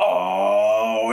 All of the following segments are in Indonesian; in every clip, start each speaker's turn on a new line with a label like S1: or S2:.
S1: Oh,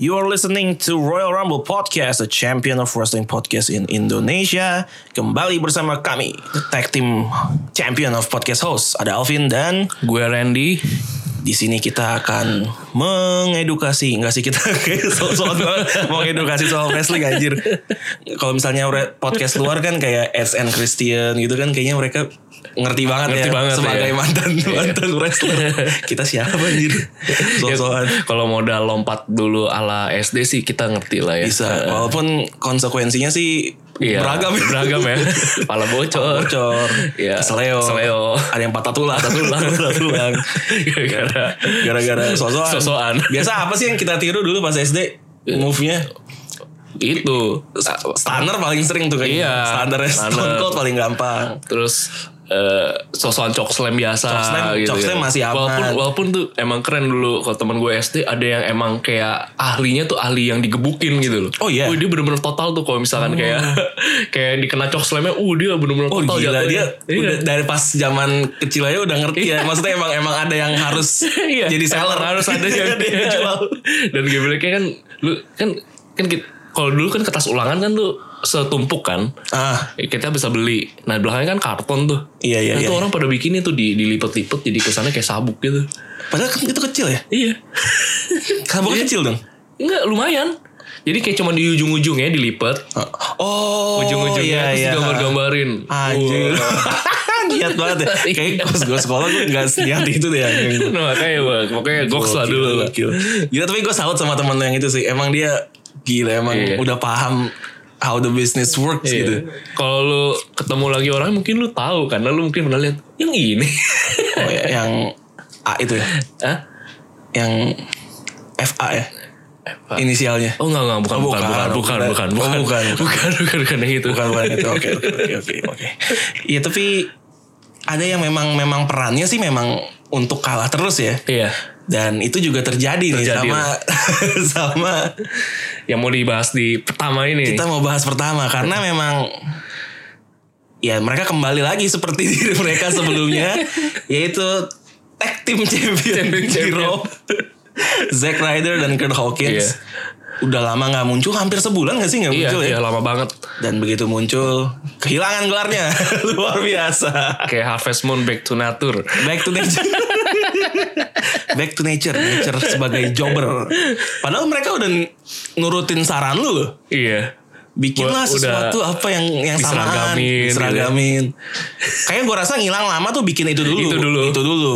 S1: You are listening to Royal Rumble Podcast, the champion of wrestling podcast in Indonesia. Kembali bersama kami, the tag team champion of podcast host. Ada Alvin dan
S2: Gue Randy.
S1: di sini kita akan mengedukasi nggak sih kita kayak so soal mau edukasi soal wrestling anjir kalau misalnya re- podcast luar kan kayak Eds and Christian gitu kan kayaknya mereka ngerti banget
S2: Ngerti
S1: ya
S2: banget,
S1: sebagai
S2: ya.
S1: mantan mantan wrestler kita siapa anjir
S2: Ya,
S1: soal
S2: Kalau modal lompat dulu ala SD sih kita ngerti lah ya.
S1: bisa walaupun konsekuensinya sih
S2: Iya,
S1: beragam ya.
S2: Beragam ya. Pala bocor.
S1: bocor
S2: Iya.
S1: keseleo
S2: Keseleo.
S1: ada yang patah tulang patah tulang patah tulang
S2: iya, Gara-gara
S1: gara-gara sosokan
S2: Sosokan. Iya.
S1: biasa apa sih yang kita tiru dulu pas SD move-nya
S2: itu.
S1: Stunner paling sering tuh kayaknya.
S2: Iya.
S1: Stunner Stone
S2: Stunner.
S1: Cold paling gampang.
S2: Terus eh sosokan cok slam biasa
S1: Chok slam-
S2: gitu.
S1: chok
S2: ya.
S1: slam masih aman.
S2: Walaupun walaupun tuh emang keren dulu kalau teman gue SD ada yang emang kayak ahlinya tuh ahli yang digebukin gitu loh.
S1: Oh, iya.
S2: Wih, dia bener-bener total tuh kalau misalkan kayak kayak dikena cok slamnya, uh dia bener-bener
S1: Oh
S2: total
S1: gila
S2: jatuhnya.
S1: dia
S2: Iya.
S1: udah dari pas zaman kecil aja udah ngerti ya. Maksudnya emang emang ada yang harus
S2: Iya.
S1: jadi seller
S2: Emang harus ada yang
S1: dia jual.
S2: Dan gebreknya kan lu kan kan kit- kalau dulu kan kertas ulangan kan tuh setumpuk kan.
S1: Ah,
S2: Kita bisa beli. Nah belakangnya kan karton tuh.
S1: Iya, iya,
S2: Nah, tuh
S1: iya.
S2: orang pada bikin itu di dilipet-lipet jadi kesannya kayak sabuk gitu.
S1: padahal kan itu kecil ya.
S2: Iya.
S1: Kabel kecil dong.
S2: Enggak lumayan. Jadi kayak cuma di ujung-ujungnya dilipet.
S1: Oh,
S2: Ujung-ujungnya terus digambar-gambarin.
S1: Anjir.
S2: Wah. Iya.
S1: Niat banget ya. Kayaknya pas gue sekolah gue gak seniat itu deh. anjing.
S2: Nah, makanya Bang. pokoknya goks lah dulu lah.
S1: Gokil. Gila tapi gue salut sama temen lo yang itu sih. Emang dia gila emang
S2: Iya.
S1: udah paham how the business works gitu.
S2: Iya. Kalau lu ketemu lagi orangnya mungkin lu tahu karena lu mungkin pernah lihat yang ini.
S1: Oh, ya, yang A itu ya.
S2: Hah?
S1: Yang FA ya.
S2: Apa?
S1: Inisialnya.
S2: Oh enggak enggak bukan
S1: Oh,
S2: bukan bukan bukan bukan
S1: Oh,
S2: bukan
S1: bukan.
S2: bukan bukan bukan yang itu.
S1: Bukan bukan itu. Oke oke oke oke oke. Iya tapi ada yang memang memang perannya sih memang untuk kalah terus ya.
S2: Iya.
S1: Dan itu juga terjadi,
S2: Terjadi.
S1: nih sama sama
S2: Yang mau dibahas di pertama ini.
S1: kita mau bahas pertama karena memang ya mereka kembali lagi seperti diri mereka sebelumnya yaitu tag team champion
S2: Champion,
S1: Hero Zack Ryder dan Kurt Hawkins
S2: Iya.
S1: udah lama nggak muncul hampir sebulan nggak sih nggak
S2: iya,
S1: muncul
S2: iya
S1: ya
S2: lama banget.
S1: dan begitu muncul kehilangan gelarnya luar biasa
S2: Kayak Harvest Moon Back to Nature.
S1: back to nature back to nature nature sebagai jobber padahal mereka udah nurutin saran lu loh
S2: Iya.
S1: bikinlah
S2: Buat- udah
S1: sesuatu apa yang yang samaan
S2: diseragamin, gitu ya.
S1: diseragamin kayaknya gue rasa ngilang lama tuh bikin itu dulu
S2: Itu dulu.
S1: itu dulu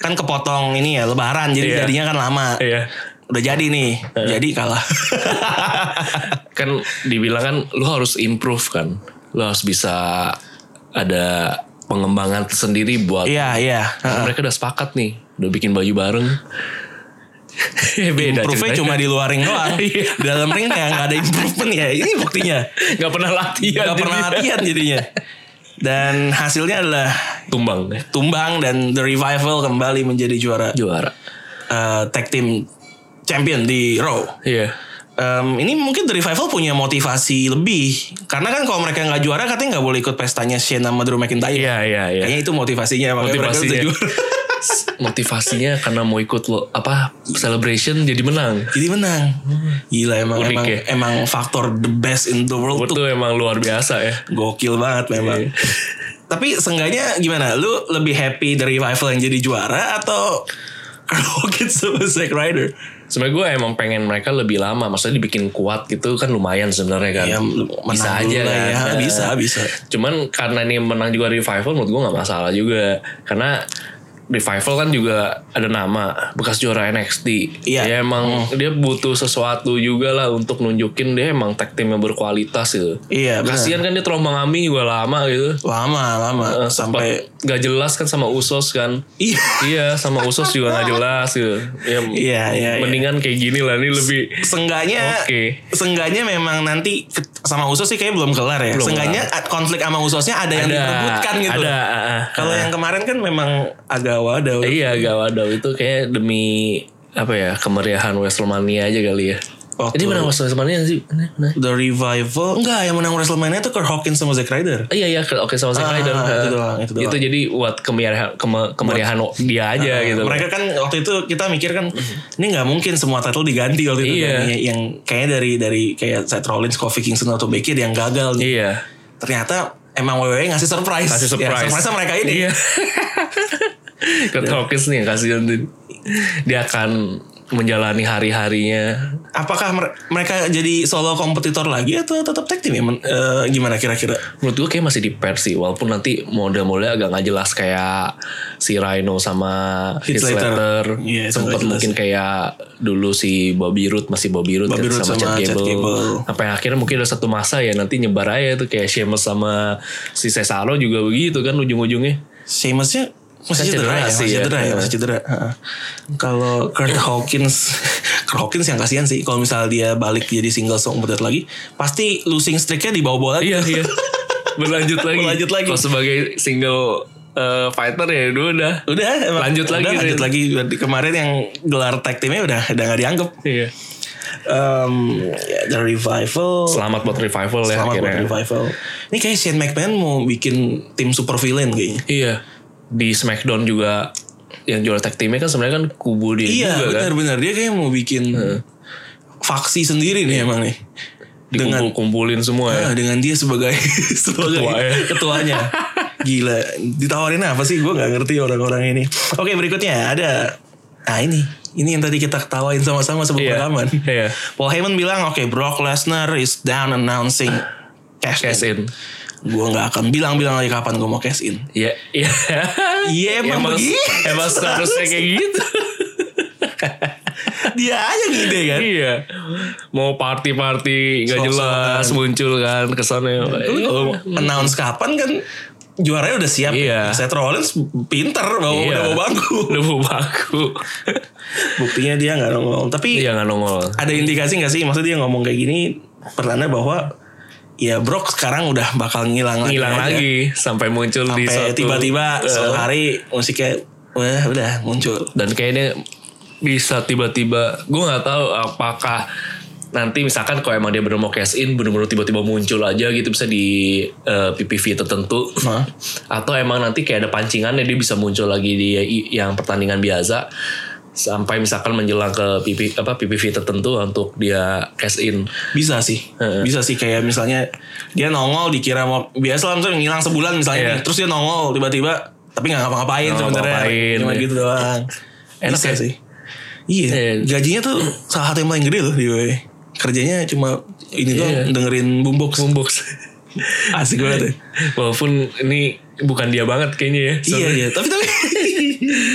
S1: kan kepotong ini ya lebaran jadi
S2: Iya.
S1: jadinya kan lama
S2: Iya.
S1: udah jadi nih jadi kalah
S2: Kan dibilang kan lu harus improve kan. Lu harus bisa ada pengembangan sendiri buat
S1: iya iya
S2: mereka udah sepakat nih. Udah bikin baju bareng. Beda
S1: Improve-nya
S2: ceritanya.
S1: cuma di luar ring doang
S2: Iya.
S1: Di dalam ring kayak gak ada improvement ya Ini buktinya
S2: nggak pernah latihan.
S1: Gak pernah
S2: Iya, jadinya.
S1: latihan jadinya Dan hasilnya adalah
S2: Tumbang ya.
S1: Tumbang dan The Revival kembali menjadi juara
S2: Juara.
S1: eh, Tag Team Champion di Raw
S2: Iya.
S1: Em, ini mungkin The Revival punya motivasi lebih karena kan kalau mereka nggak juara katanya nggak boleh ikut pestanya Shane sama Drew McIntyre.
S2: Iya iya iya.
S1: Kayaknya itu motivasinya makanya Iya, mereka
S2: Motivasinya.
S1: bisa juara.
S2: S- motivasinya karena mau ikut lo apa celebration jadi menang.
S1: Jadi menang. Gila emang
S2: Unik
S1: emang
S2: ya.
S1: emang faktor the best in the world
S2: Itu
S1: tuh
S2: emang luar biasa ya.
S1: gokil banget
S2: Iya.
S1: memang. Tapi seenggaknya gimana? Lu lebih happy The Revival yang jadi juara atau Rocket sama Zack Ryder?
S2: Sebenarnya gue emang pengen mereka lebih lama, maksudnya dibikin kuat gitu kan lumayan sebenarnya kan.
S1: Ya,
S2: bisa
S1: menang
S2: aja
S1: dulu lah
S2: kan.
S1: ya. Bisa, bisa.
S2: Cuman karena ini menang juga revival, menurut gue nggak masalah juga, karena Revival kan juga ada nama bekas juara NXT.
S1: Iya.
S2: Dia emang dia butuh sesuatu juga lah untuk nunjukin dia emang tag team yang berkualitas gitu.
S1: Iya, benar.
S2: Kasihan kan dia terombang ambing juga lama gitu.
S1: lama lama
S2: Eh,
S1: sampai
S2: sempat nggak jelas kan sama Usos kan.
S1: Iya.
S2: iya, sama Usos juga nggak jelas gitu. Ya,
S1: Iya, iya, iya.
S2: Mendingan kayak gini lah ini lebih
S1: Senggaknya
S2: Oke.
S1: Senggaknya memang nanti ke- Sama Usos sih kayaknya belum kelar ya
S2: Belum
S1: Senggaknya a- konflik sama Usosnya Ada yang
S2: Ada,
S1: diperbutkan gitu
S2: ada,
S1: loh.
S2: ah, ah.
S1: Kalau yang kemarin kan memang Agak wadah
S2: Iya Gawadau itu kayak demi apa ya kemeriahan Wrestlemania aja kali ya.
S1: Waktu-
S2: Ini menang Wrestlemania sih? Mana? mana?
S1: The Revival Enggak yang menang Wrestlemania itu Kurt Hawkins sama Zack Ryder
S2: Iya iya ke- oke sama Zack
S1: Ah,
S2: Ryder.
S1: itu doang, itu doang.
S2: jadi buat kemeriahan keme- kemeriahan dia aja gitu.
S1: Mereka kan waktu itu kita mikir kan ini nggak mungkin semua title diganti waktu itu
S2: Iya.
S1: kan. Ya, yang kayaknya dari dari kayak Seth Rollins, Kofi Kingston atau Becky yang gagal nih.
S2: Iya.
S1: Ternyata emang WWE ngasih surprise.
S2: Kasih
S1: Ya,
S2: surprise.
S1: surprise mereka ini. Ya.
S2: Iya. Kurt Hawkins nih yang kasih nanti. Dia akan menjalani hari-harinya.
S1: Apakah mer- mereka jadi solo kompetitor lagi atau tetap tag team ya? Men- eh, gimana kira-kira?
S2: Menurut gue kayak masih di pers sih Walaupun nanti model-modelnya agak nggak jelas Kayak si Rhino sama
S1: Heath
S2: Heath
S1: Slater.
S2: Slater
S1: Iya, itu nggak
S2: Sempet
S1: jelas.
S2: mungkin kayak Dulu si Bobby Roode Masih Bobby Roode
S1: Bobby
S2: kan,
S1: Roode sama Chad Gable.
S2: Sampai akhirnya mungkin ada satu masa ya Nanti nyebar aja tuh Kayak Sheamus sama si Cesaro juga begitu kan Ujung-ujungnya
S1: Sheamusnya masih cedera,
S2: Kan cedera
S1: ya, masih
S2: sih ya.
S1: cedera ya, masih cedera. Heeh. Kalau Kurt Hawkins, Kurt Hawkins yang kasihan sih. Kalau misalnya dia balik jadi single song berat lagi, pasti losing streaknya di bawah bola
S2: Iya iya Berlanjut lagi
S1: Berlanjut lagi.
S2: Kalau sebagai single eh, fighter ya Dulu udah
S1: Udah emang-
S2: Lanjut
S1: udah,
S2: lagi,
S1: lanjut
S2: Rin.
S1: lagi Berarti kemarin yang gelar tag teamnya udah udah gak dianggap.
S2: Iya
S1: Em, ya, the revival.
S2: Selamat buat revival ya
S1: Selamat
S2: akhirnya.
S1: buat revival. Ini kayak Shane McMahon mau bikin tim super villain kayaknya.
S2: Iya. Di SmackDown juga yang juara tag teamnya kan sebenarnya kan kubu dia
S1: Iya
S2: juga kan.
S1: benar-benar dia kayak mau bikin faksi sendiri nih emang nih. Dengan
S2: Dikumpul-kumpulin semua
S1: Ah,
S2: ya.
S1: dengan dia sebagai sebagai
S2: Ketuanya.
S1: ketuanya. Gila, ditawarin apa sih? Gue nggak ngerti orang-orang ini. Oke, berikutnya ada nah ini. Ini yang tadi kita ketawain sama-sama sebelum
S2: Iya.
S1: rekaman.
S2: Iya.
S1: Paul Heyman bilang, "Oke, Brock Lesnar is down announcing cash,
S2: Cash
S1: in."
S2: in.
S1: Gue nggak akan bilang-bilang lagi kapan gue mau cash in.
S2: Iya. Iya.
S1: Iya, emang begitu.
S2: Emang seharusnya kayak gitu.
S1: Dia aja ngide kan.
S2: iya. Mau party-party gak
S1: Sok-sokan.
S2: jelas muncul kan kesannya.
S1: Iya. Lu announce kapan kan juaranya udah siap.
S2: Iya.
S1: Saya Rollins pinter bawa
S2: Iya.
S1: udah bawa bangku.
S2: Udah mau baku.
S1: Buktinya dia nggak nongol. Tapi
S2: Iya gak nongol.
S1: ada indikasi nggak sih maksudnya dia ngomong kayak gini pertanda bahwa ya Brock sekarang udah bakal ngilang lagi
S2: Ngilang
S1: aja.
S2: lagi sampai muncul di
S1: sampai
S2: suatu. eh.
S1: tiba-tiba suatu hari musiknya wah udah muncul
S2: dan kayaknya bisa tiba-tiba gue nggak tahu apakah nanti misalkan kalau emang dia bener mau cash in bener-bener tiba-tiba muncul aja gitu bisa di eh, PPV tertentu
S1: Hah?
S2: atau emang nanti kayak ada pancingannya dia bisa muncul lagi di i- yang pertandingan biasa sampai misalkan menjelang ke PP, apa PPV tertentu untuk dia cash in
S1: bisa sih bisa sih kayak misalnya dia nongol dikira mau biasa lah misalnya ngilang sebulan misalnya
S2: Iya.
S1: nih. terus dia nongol tiba-tiba tapi nggak ngapa-ngapain
S2: Nggak
S1: sebenarnya
S2: ngapa-ngapain,
S1: cuma
S2: ya.
S1: gitu doang
S2: Enak
S1: bisa
S2: ya?
S1: sih iya
S2: Iya.
S1: gajinya tuh salah satu yang paling gede loh di WWE. kerjanya cuma ini doang
S2: Iya.
S1: dengerin boombox
S2: boombox
S1: asik banget ya.
S2: walaupun ini bukan dia banget kayaknya ya
S1: iya iya tapi tapi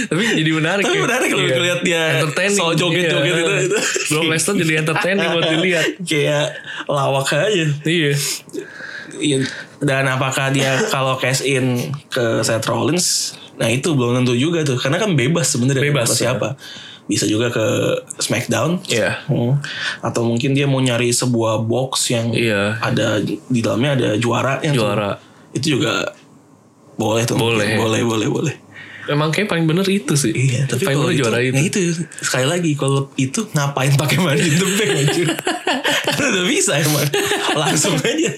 S2: tapi jadi menarik ya. Iya.
S1: Tapi menarik loh ngeliat dia
S2: entertaining
S1: soal joget-joget itu- itu.
S2: Brock Lesnar jadi entertaining buat dilihat
S1: kayak lawak aja.
S2: iya
S1: Iya. Dan apakah dia kalau cash in ke Seth Rollins? Nah itu belum tentu juga tuh, karena kan bebas sebenarnya
S2: Bebas, ya.
S1: ke siapa. Bisa juga ke SmackDown.
S2: Iya.
S1: Hmm. Atau mungkin dia mau nyari sebuah box yang
S2: Iya.
S1: ada di dalamnya ada juara yang
S2: Juara.
S1: Itu juga boleh tuh.
S2: Boleh.
S1: Boleh, boleh, boleh.
S2: emang kayak paling bener itu sih
S1: Iya, tapi
S2: paling
S1: kalau
S2: bener
S1: itu,
S2: juara itu
S1: Nah itu sekali lagi kalau itu ngapain pakai money in the bank anjir. Kan udah bisa emang. Langsung aja.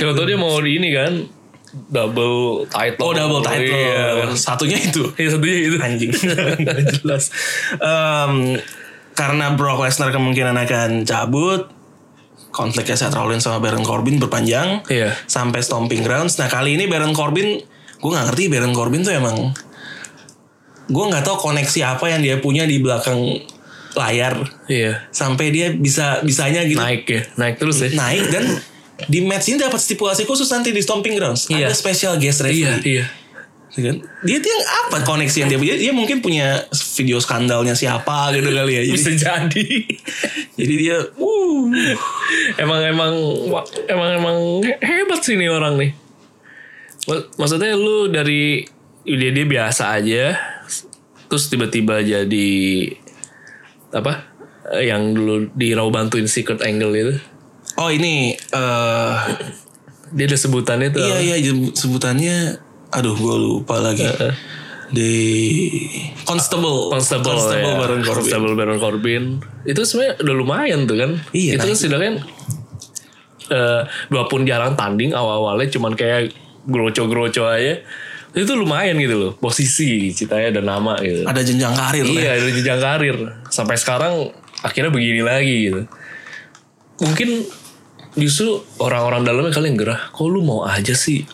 S2: siapa tau dia mau di ini kan double title
S1: Oh double title.
S2: iya
S1: Satunya itu.
S2: Iya, satunya itu
S1: Anjing. Nggak jelas. Em, karena Brock Lesnar kemungkinan akan cabut. Konfliknya Seth Rollins sama Baron Corbin berpanjang.
S2: Iya.
S1: Sampai Stomping Grounds. Nah kali ini Baron Corbin. Gue gak ngerti Baron Corbin tuh emang. Gue gak tahu koneksi apa yang dia punya di belakang layar.
S2: iya
S1: sampai dia bisa bisanya gitu naik,
S2: naik ya naik terus ya
S1: dan di match ini dapat stipulasi khusus nanti di stomping grounds
S2: Iya.
S1: ada special guest referee
S2: iya
S1: Ya kan? Dia tuh yang apa koneksi yang dia punya? Dia mungkin punya video skandalnya siapa gitu kali ya. Jadi,
S2: bisa jadi
S1: jadi dia
S2: Wuh. Uh. emang emang wa- emang emang he- hebat sih nih orang nih Mak- maksudnya lu dari dia dia biasa aja terus tiba-tiba jadi apa eh, yang dulu di Raw bantuin Secret Angle itu
S1: oh ini eh
S2: dia ada sebutannya tuh
S1: iya iya jem- sebutannya aduh gue lupa lagi. Di Constable
S2: Constable,
S1: Constable
S2: ya.
S1: Baron Corbin.
S2: Constable Baron Corbin. Itu sebenarnya udah lumayan tuh kan.
S1: Iya,
S2: Itu kan setidaknya eh walaupun jarang tanding awal-awalnya cuman kayak groco-groco aja. Itu lumayan gitu loh. Posisi citanya ada nama gitu.
S1: Ada jenjang karir
S2: iya, dari jenjang karir. Sampai sekarang akhirnya begini lagi gitu. Mungkin justru orang-orang dalamnya kalian gerah. Kok lu mau aja sih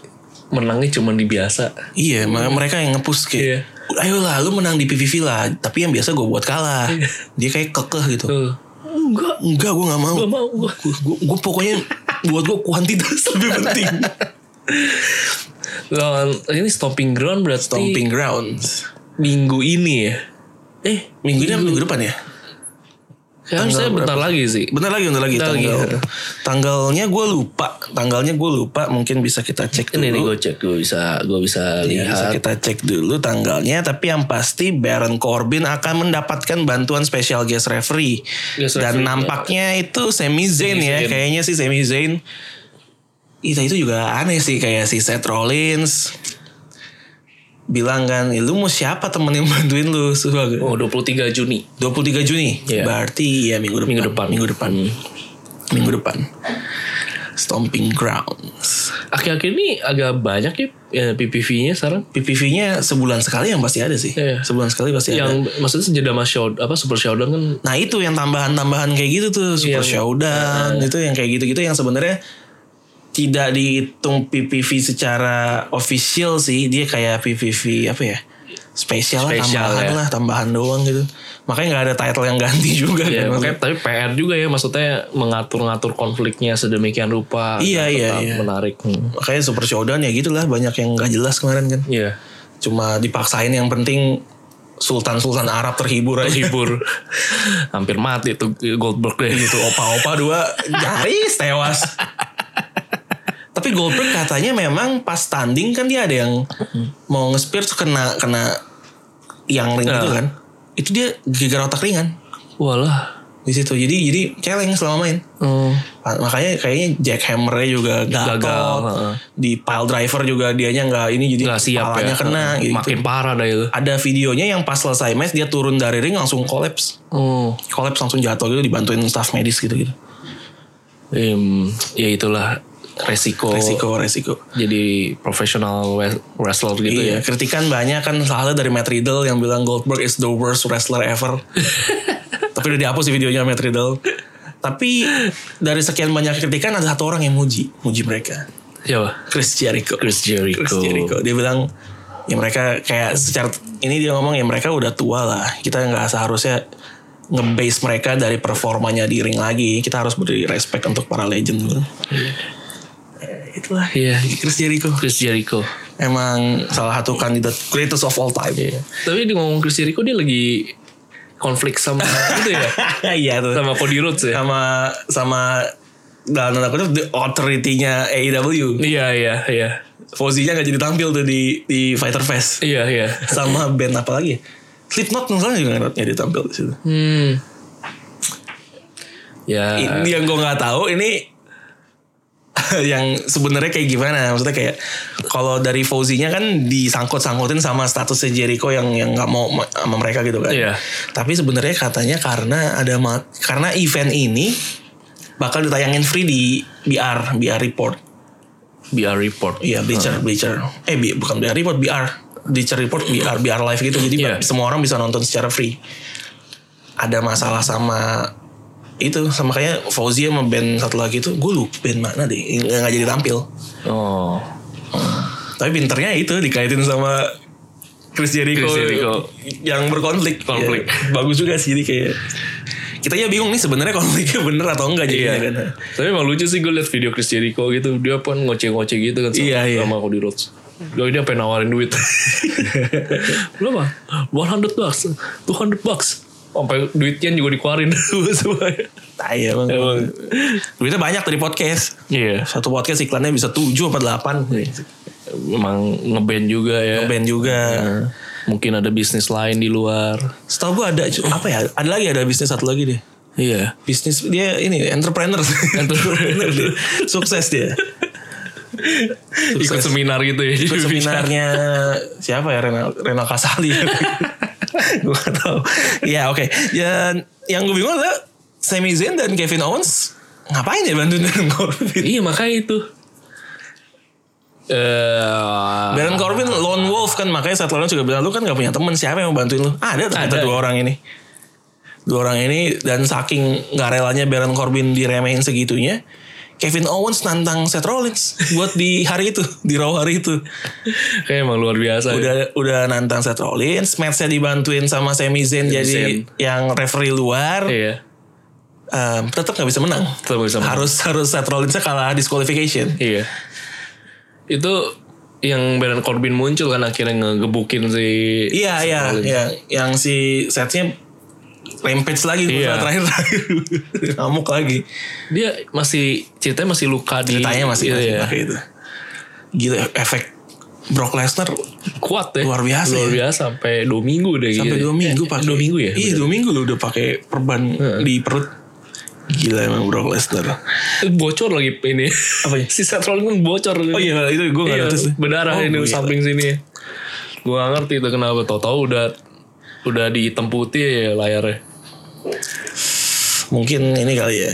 S2: menangnya cuman di biasa.
S1: Iya, ma- mereka yang nge-push
S2: Iya.
S1: kayak, ayo lah lu menang di PVV lah, tapi yang biasa gue buat kalah.
S2: Iya.
S1: Dia kayak kekeh gitu.
S2: Tuh. Enggak,
S1: Enggak, gue gak mau.
S2: enggak mau gua.
S1: Gue pokoknya buat gue kuantitas lebih penting.
S2: Lawan ini stomping ground berarti
S1: Stomping grounds.
S2: minggu ini ya. Eh,
S1: Minggu ini apa minggu depan ya?
S2: kan saya bentar lagi sih.
S1: Bentar lagi, bentar lagi.
S2: Bentar lagi,
S1: tanggal,
S2: ya.
S1: Tanggalnya gue lupa. Tanggalnya gue lupa. Mungkin bisa kita cek dulu.
S2: Ini nih gue cek gue bisa gue bisa
S1: Ya, bisa
S2: lihat.
S1: kita cek dulu tanggalnya. Tapi yang pasti Baron Corbin akan mendapatkan bantuan special guest referee.
S2: Guest
S1: Dan
S2: referee, ya.
S1: nampaknya itu Sami Zayn
S2: Sami
S1: ya.
S2: Zayn.
S1: Kayaknya sih Sami Zayn. Itu, itu juga aneh sih. Kayak si Seth Rollins. Bilang kan, "Eh, lu mau siapa temen yang bantuin lu? Sebagai
S2: Oh, 23 Juni.
S1: 23 Juni.
S2: Iya.
S1: Berarti ya minggu depan.
S2: Minggu depan. Hmm.
S1: Minggu depan. Minggu depan. Stomping Grounds.
S2: Akhir-akhir ini agak banyak ya, ya PPV-nya sekarang.
S1: PPV-nya sebulan sekali yang pasti ada sih.
S2: Iya.
S1: Sebulan sekali pasti ada.
S2: Yang maksudnya sejeda sama show, apa Super Showdown kan
S1: Nah itu yang tambahan-tambahan kayak gitu tuh Super
S2: Yang-
S1: Showdown
S2: Iya.
S1: itu yang kayak gitu-gitu yang sebenarnya tidak dihitung PPV secara official sih dia kayak PPV apa ya spesial, lah,
S2: Spesial,
S1: tambahan
S2: ya.
S1: lah tambahan doang gitu makanya nggak ada title yang ganti juga
S2: ya,
S1: kan
S2: makanya- tapi PR juga ya maksudnya mengatur-ngatur konfliknya sedemikian rupa.
S1: Iya,
S2: agar
S1: iya,
S2: tetap
S1: iya.
S2: Menarik. Hmm.
S1: makanya Super Showdown ya gitulah banyak yang nggak jelas kemarin kan
S2: Iya.
S1: cuma dipaksain yang penting Sultan-Sultan Arab terhibur aja
S2: Hibur. Hampir mati tuh Goldberg deh.
S1: gitu opa-opa dua nyaris tewas tapi Goldberg katanya memang pas tanding kan dia ada yang mau nge-spear tuh kena kena yang ring
S2: Iya.
S1: itu kan itu dia gegar otak ringan
S2: Walah.
S1: di situ jadi jadi celeng selama main
S2: Hmm.
S1: Pa- makanya kayaknya jackhammernya juga
S2: Gagal,
S1: gagal
S2: heeh.
S1: di pile driver juga dianya nggak ini jadi
S2: nggak siap
S1: Iya, kepalanya
S2: ya.
S1: kena gitu.
S2: Makin parah dah itu.
S1: ada videonya yang pas selesai match dia turun dari ring langsung collapse
S2: Oh,
S1: collapse langsung jatuh gitu dibantuin staff medis gitu gitu
S2: em, ya itulah resiko,
S1: resiko resiko
S2: jadi profesional we- wrestler gitu
S1: iya,
S2: ya.
S1: kritikan banyak kan soalnya dari Matt Riddle yang bilang Goldberg is the worst wrestler ever. Tapi udah dihapus sih videonya Matt Riddle. Tapi dari sekian banyak kritikan ada satu orang yang muji, muji mereka.
S2: Siapa?
S1: Chris Jericho.
S2: Chris Jericho.
S1: Chris Jericho. Dia bilang ya mereka kayak secara ini dia ngomong ya mereka udah tua lah. Kita nggak seharusnya ngebase mereka dari performanya di ring lagi. Kita harus beri respect untuk para legend. Eh, Itulah
S2: Iya.
S1: Chris Jericho
S2: Chris Jericho.
S1: emang salah satu kandidat greatest of all time.
S2: Iya. Tapi di ngomong Chris Jericho dia lagi konflik sama gitu ya.
S1: Iya tuh.
S2: Sama Cody Rhodes ya.
S1: Sama sama dalam tanda kutip the authority-nya AEW.
S2: Iya, iya, iya.
S1: Fauzinya nggak jadi tampil tuh di di Fighter Fest.
S2: Iya, iya.
S1: Sama band apa lagi? ya? Slipknot misalnya juga nggak jadi tampil di situ.
S2: Hmm. Ya.
S1: Ini yang gue nggak tahu ini yang sebenarnya kayak gimana maksudnya kayak kalau dari Fauzinya kan disangkut-sangkutin sama statusnya Jericho yang yang nggak mau ma- sama mereka gitu kan.
S2: Iya.
S1: Tapi sebenarnya katanya karena ada ma- karena event ini bakal ditayangin free di BR BR report.
S2: BR report.
S1: Iya, Bleacher, Bleacher. Eh, bi- bukan BR report, BR. Bleacher report, BR, BR live gitu. Jadi
S2: Iya.
S1: semua orang bisa nonton secara free. Ada masalah sama itu sama kayak Fauzi sama band satu lagi itu gue lupa band mana deh nggak nggak jadi tampil
S2: Oh.
S1: tapi pinternya itu dikaitin sama Chris Jericho,
S2: Chris Jericho.
S1: yang berkonflik
S2: Konflik.
S1: Ya, bagus juga sih jadi kayak kita ya bingung nih sebenarnya konfliknya bener atau enggak jadinya
S2: Iya.
S1: kan
S2: Tapi emang lucu sih gue liat video Chris Jericho gitu. Dia pun ngoceh-ngoceh gitu kan sama,
S1: Iya, iya.
S2: sama Cody Rhodes. Loh dia pengen nawarin duit. Berapa? 100 bucks. 200 bucks. Sampai duitnya juga dikeluarin. Semuanya.
S1: Tai emang.
S2: Emang.
S1: Duitnya banyak dari podcast.
S2: Iya.
S1: Satu podcast iklannya bisa 7 apa 8.
S2: Emang ngeband juga ya.
S1: Band juga.
S2: Mungkin ada bisnis lain di luar.
S1: Setahu gue ada apa ya? Ada lagi ada bisnis satu lagi deh.
S2: Iya.
S1: Bisnis dia ini entrepreneur. entrepreneur dia. Sukses dia.
S2: Ikut
S1: Sukses.
S2: seminar gitu ya.
S1: Ikut
S2: jadi bicara.
S1: seminarnya siapa ya Renal Renal Kasali. gue gak tahu. Ya oke. Ya yang gue bingung adalah Sami Zayn dan Kevin Owens ngapain ya bantuin Baron Corbin?
S2: Iya makanya itu. Eh,
S1: Baron Corbin lone wolf kan makanya saat lawan juga bilang lu kan gak punya teman siapa yang mau bantuin lu? Ah, Ada ternyata
S2: Ada.
S1: dua orang ini. Dua orang ini dan saking gak relanya Baron Corbin diremehin segitunya. Kevin Owens nantang Seth Rollins buat di hari itu, di Raw hari itu.
S2: kayak emang luar biasa. ya.
S1: udah udah nantang Seth Rollins, matchnya dibantuin sama Sami Zayn jadi yang referee luar,
S2: Iya.
S1: em, tetap nggak bisa menang.
S2: Tetap nggak bisa menang.
S1: Harus harus Seth Rollinsnya kalah disqualification.
S2: Iya. Itu yang Baron Corbin muncul kan akhirnya ngegebukin si
S1: Iya
S2: si
S1: iya
S2: Rollins.
S1: iya, yang si Sethnya rampage lagi
S2: Iya.
S1: terakhir terakhir ngamuk lagi.
S2: Dia masih ceritanya masih luka di
S1: Ceritanya masih
S2: iya,
S1: masih
S2: iya.
S1: pakai itu. Gila efek Brock Lesnar
S2: kuat ya.
S1: Luar biasa
S2: Luar
S1: ya.
S2: biasa sampai 2 minggu deh
S1: sampai
S2: gitu.
S1: dua minggu pakai.
S2: Dua minggu ya.
S1: Iya dua minggu lu udah pakai perban di perut. Gila emang Brock Lesnar.
S2: Eh, Bocor lagi ini.
S1: Apanya?
S2: si Seth Rollins kan bocor.
S1: Oh iya itu gue nggak
S2: Iya,
S1: notice tuh.
S2: berdarah
S1: Oh,
S2: ini
S1: iya.
S2: samping sini. Gue gak ngerti itu kenapa. Tau-tau udah udah dihitam putih ya layarnya.
S1: mungkin ini kali ya